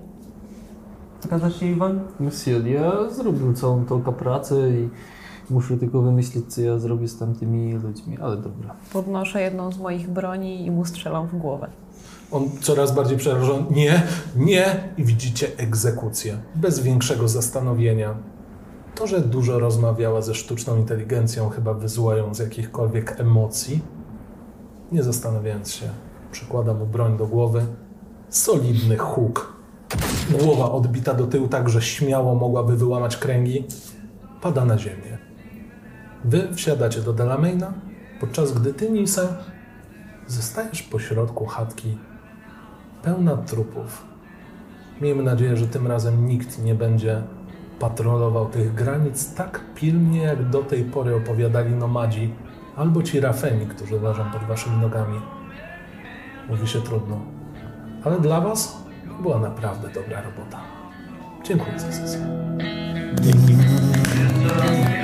Speaker 2: Zgadzasz się, Iwan?
Speaker 3: Monsieur, ja zrobił całą tą pracę i muszę tylko wymyślić, co ja zrobię z tamtymi ludźmi. Ale dobra.
Speaker 5: Podnoszę jedną z moich broni i mu strzelam w głowę.
Speaker 1: On coraz bardziej przerażony. Nie, nie! I widzicie egzekucję. Bez większego zastanowienia. To, że dużo rozmawiała ze sztuczną inteligencją, chyba wyzła ją z jakichkolwiek emocji. Nie zastanawiając się, przykłada mu broń do głowy. Solidny huk. Głowa odbita do tyłu tak, że śmiało mogłaby wyłamać kręgi. Pada na ziemię. Wy wsiadacie do Delamaina, podczas gdy ty, Nilsen, zostajesz pośrodku chatki pełna trupów. Miejmy nadzieję, że tym razem nikt nie będzie patrolował tych granic tak pilnie, jak do tej pory opowiadali nomadzi albo ci rafeni, którzy leżą pod waszymi nogami. Mówi się trudno, ale dla was była naprawdę dobra robota. Dziękuję za sesję.
Speaker 2: Dzięki.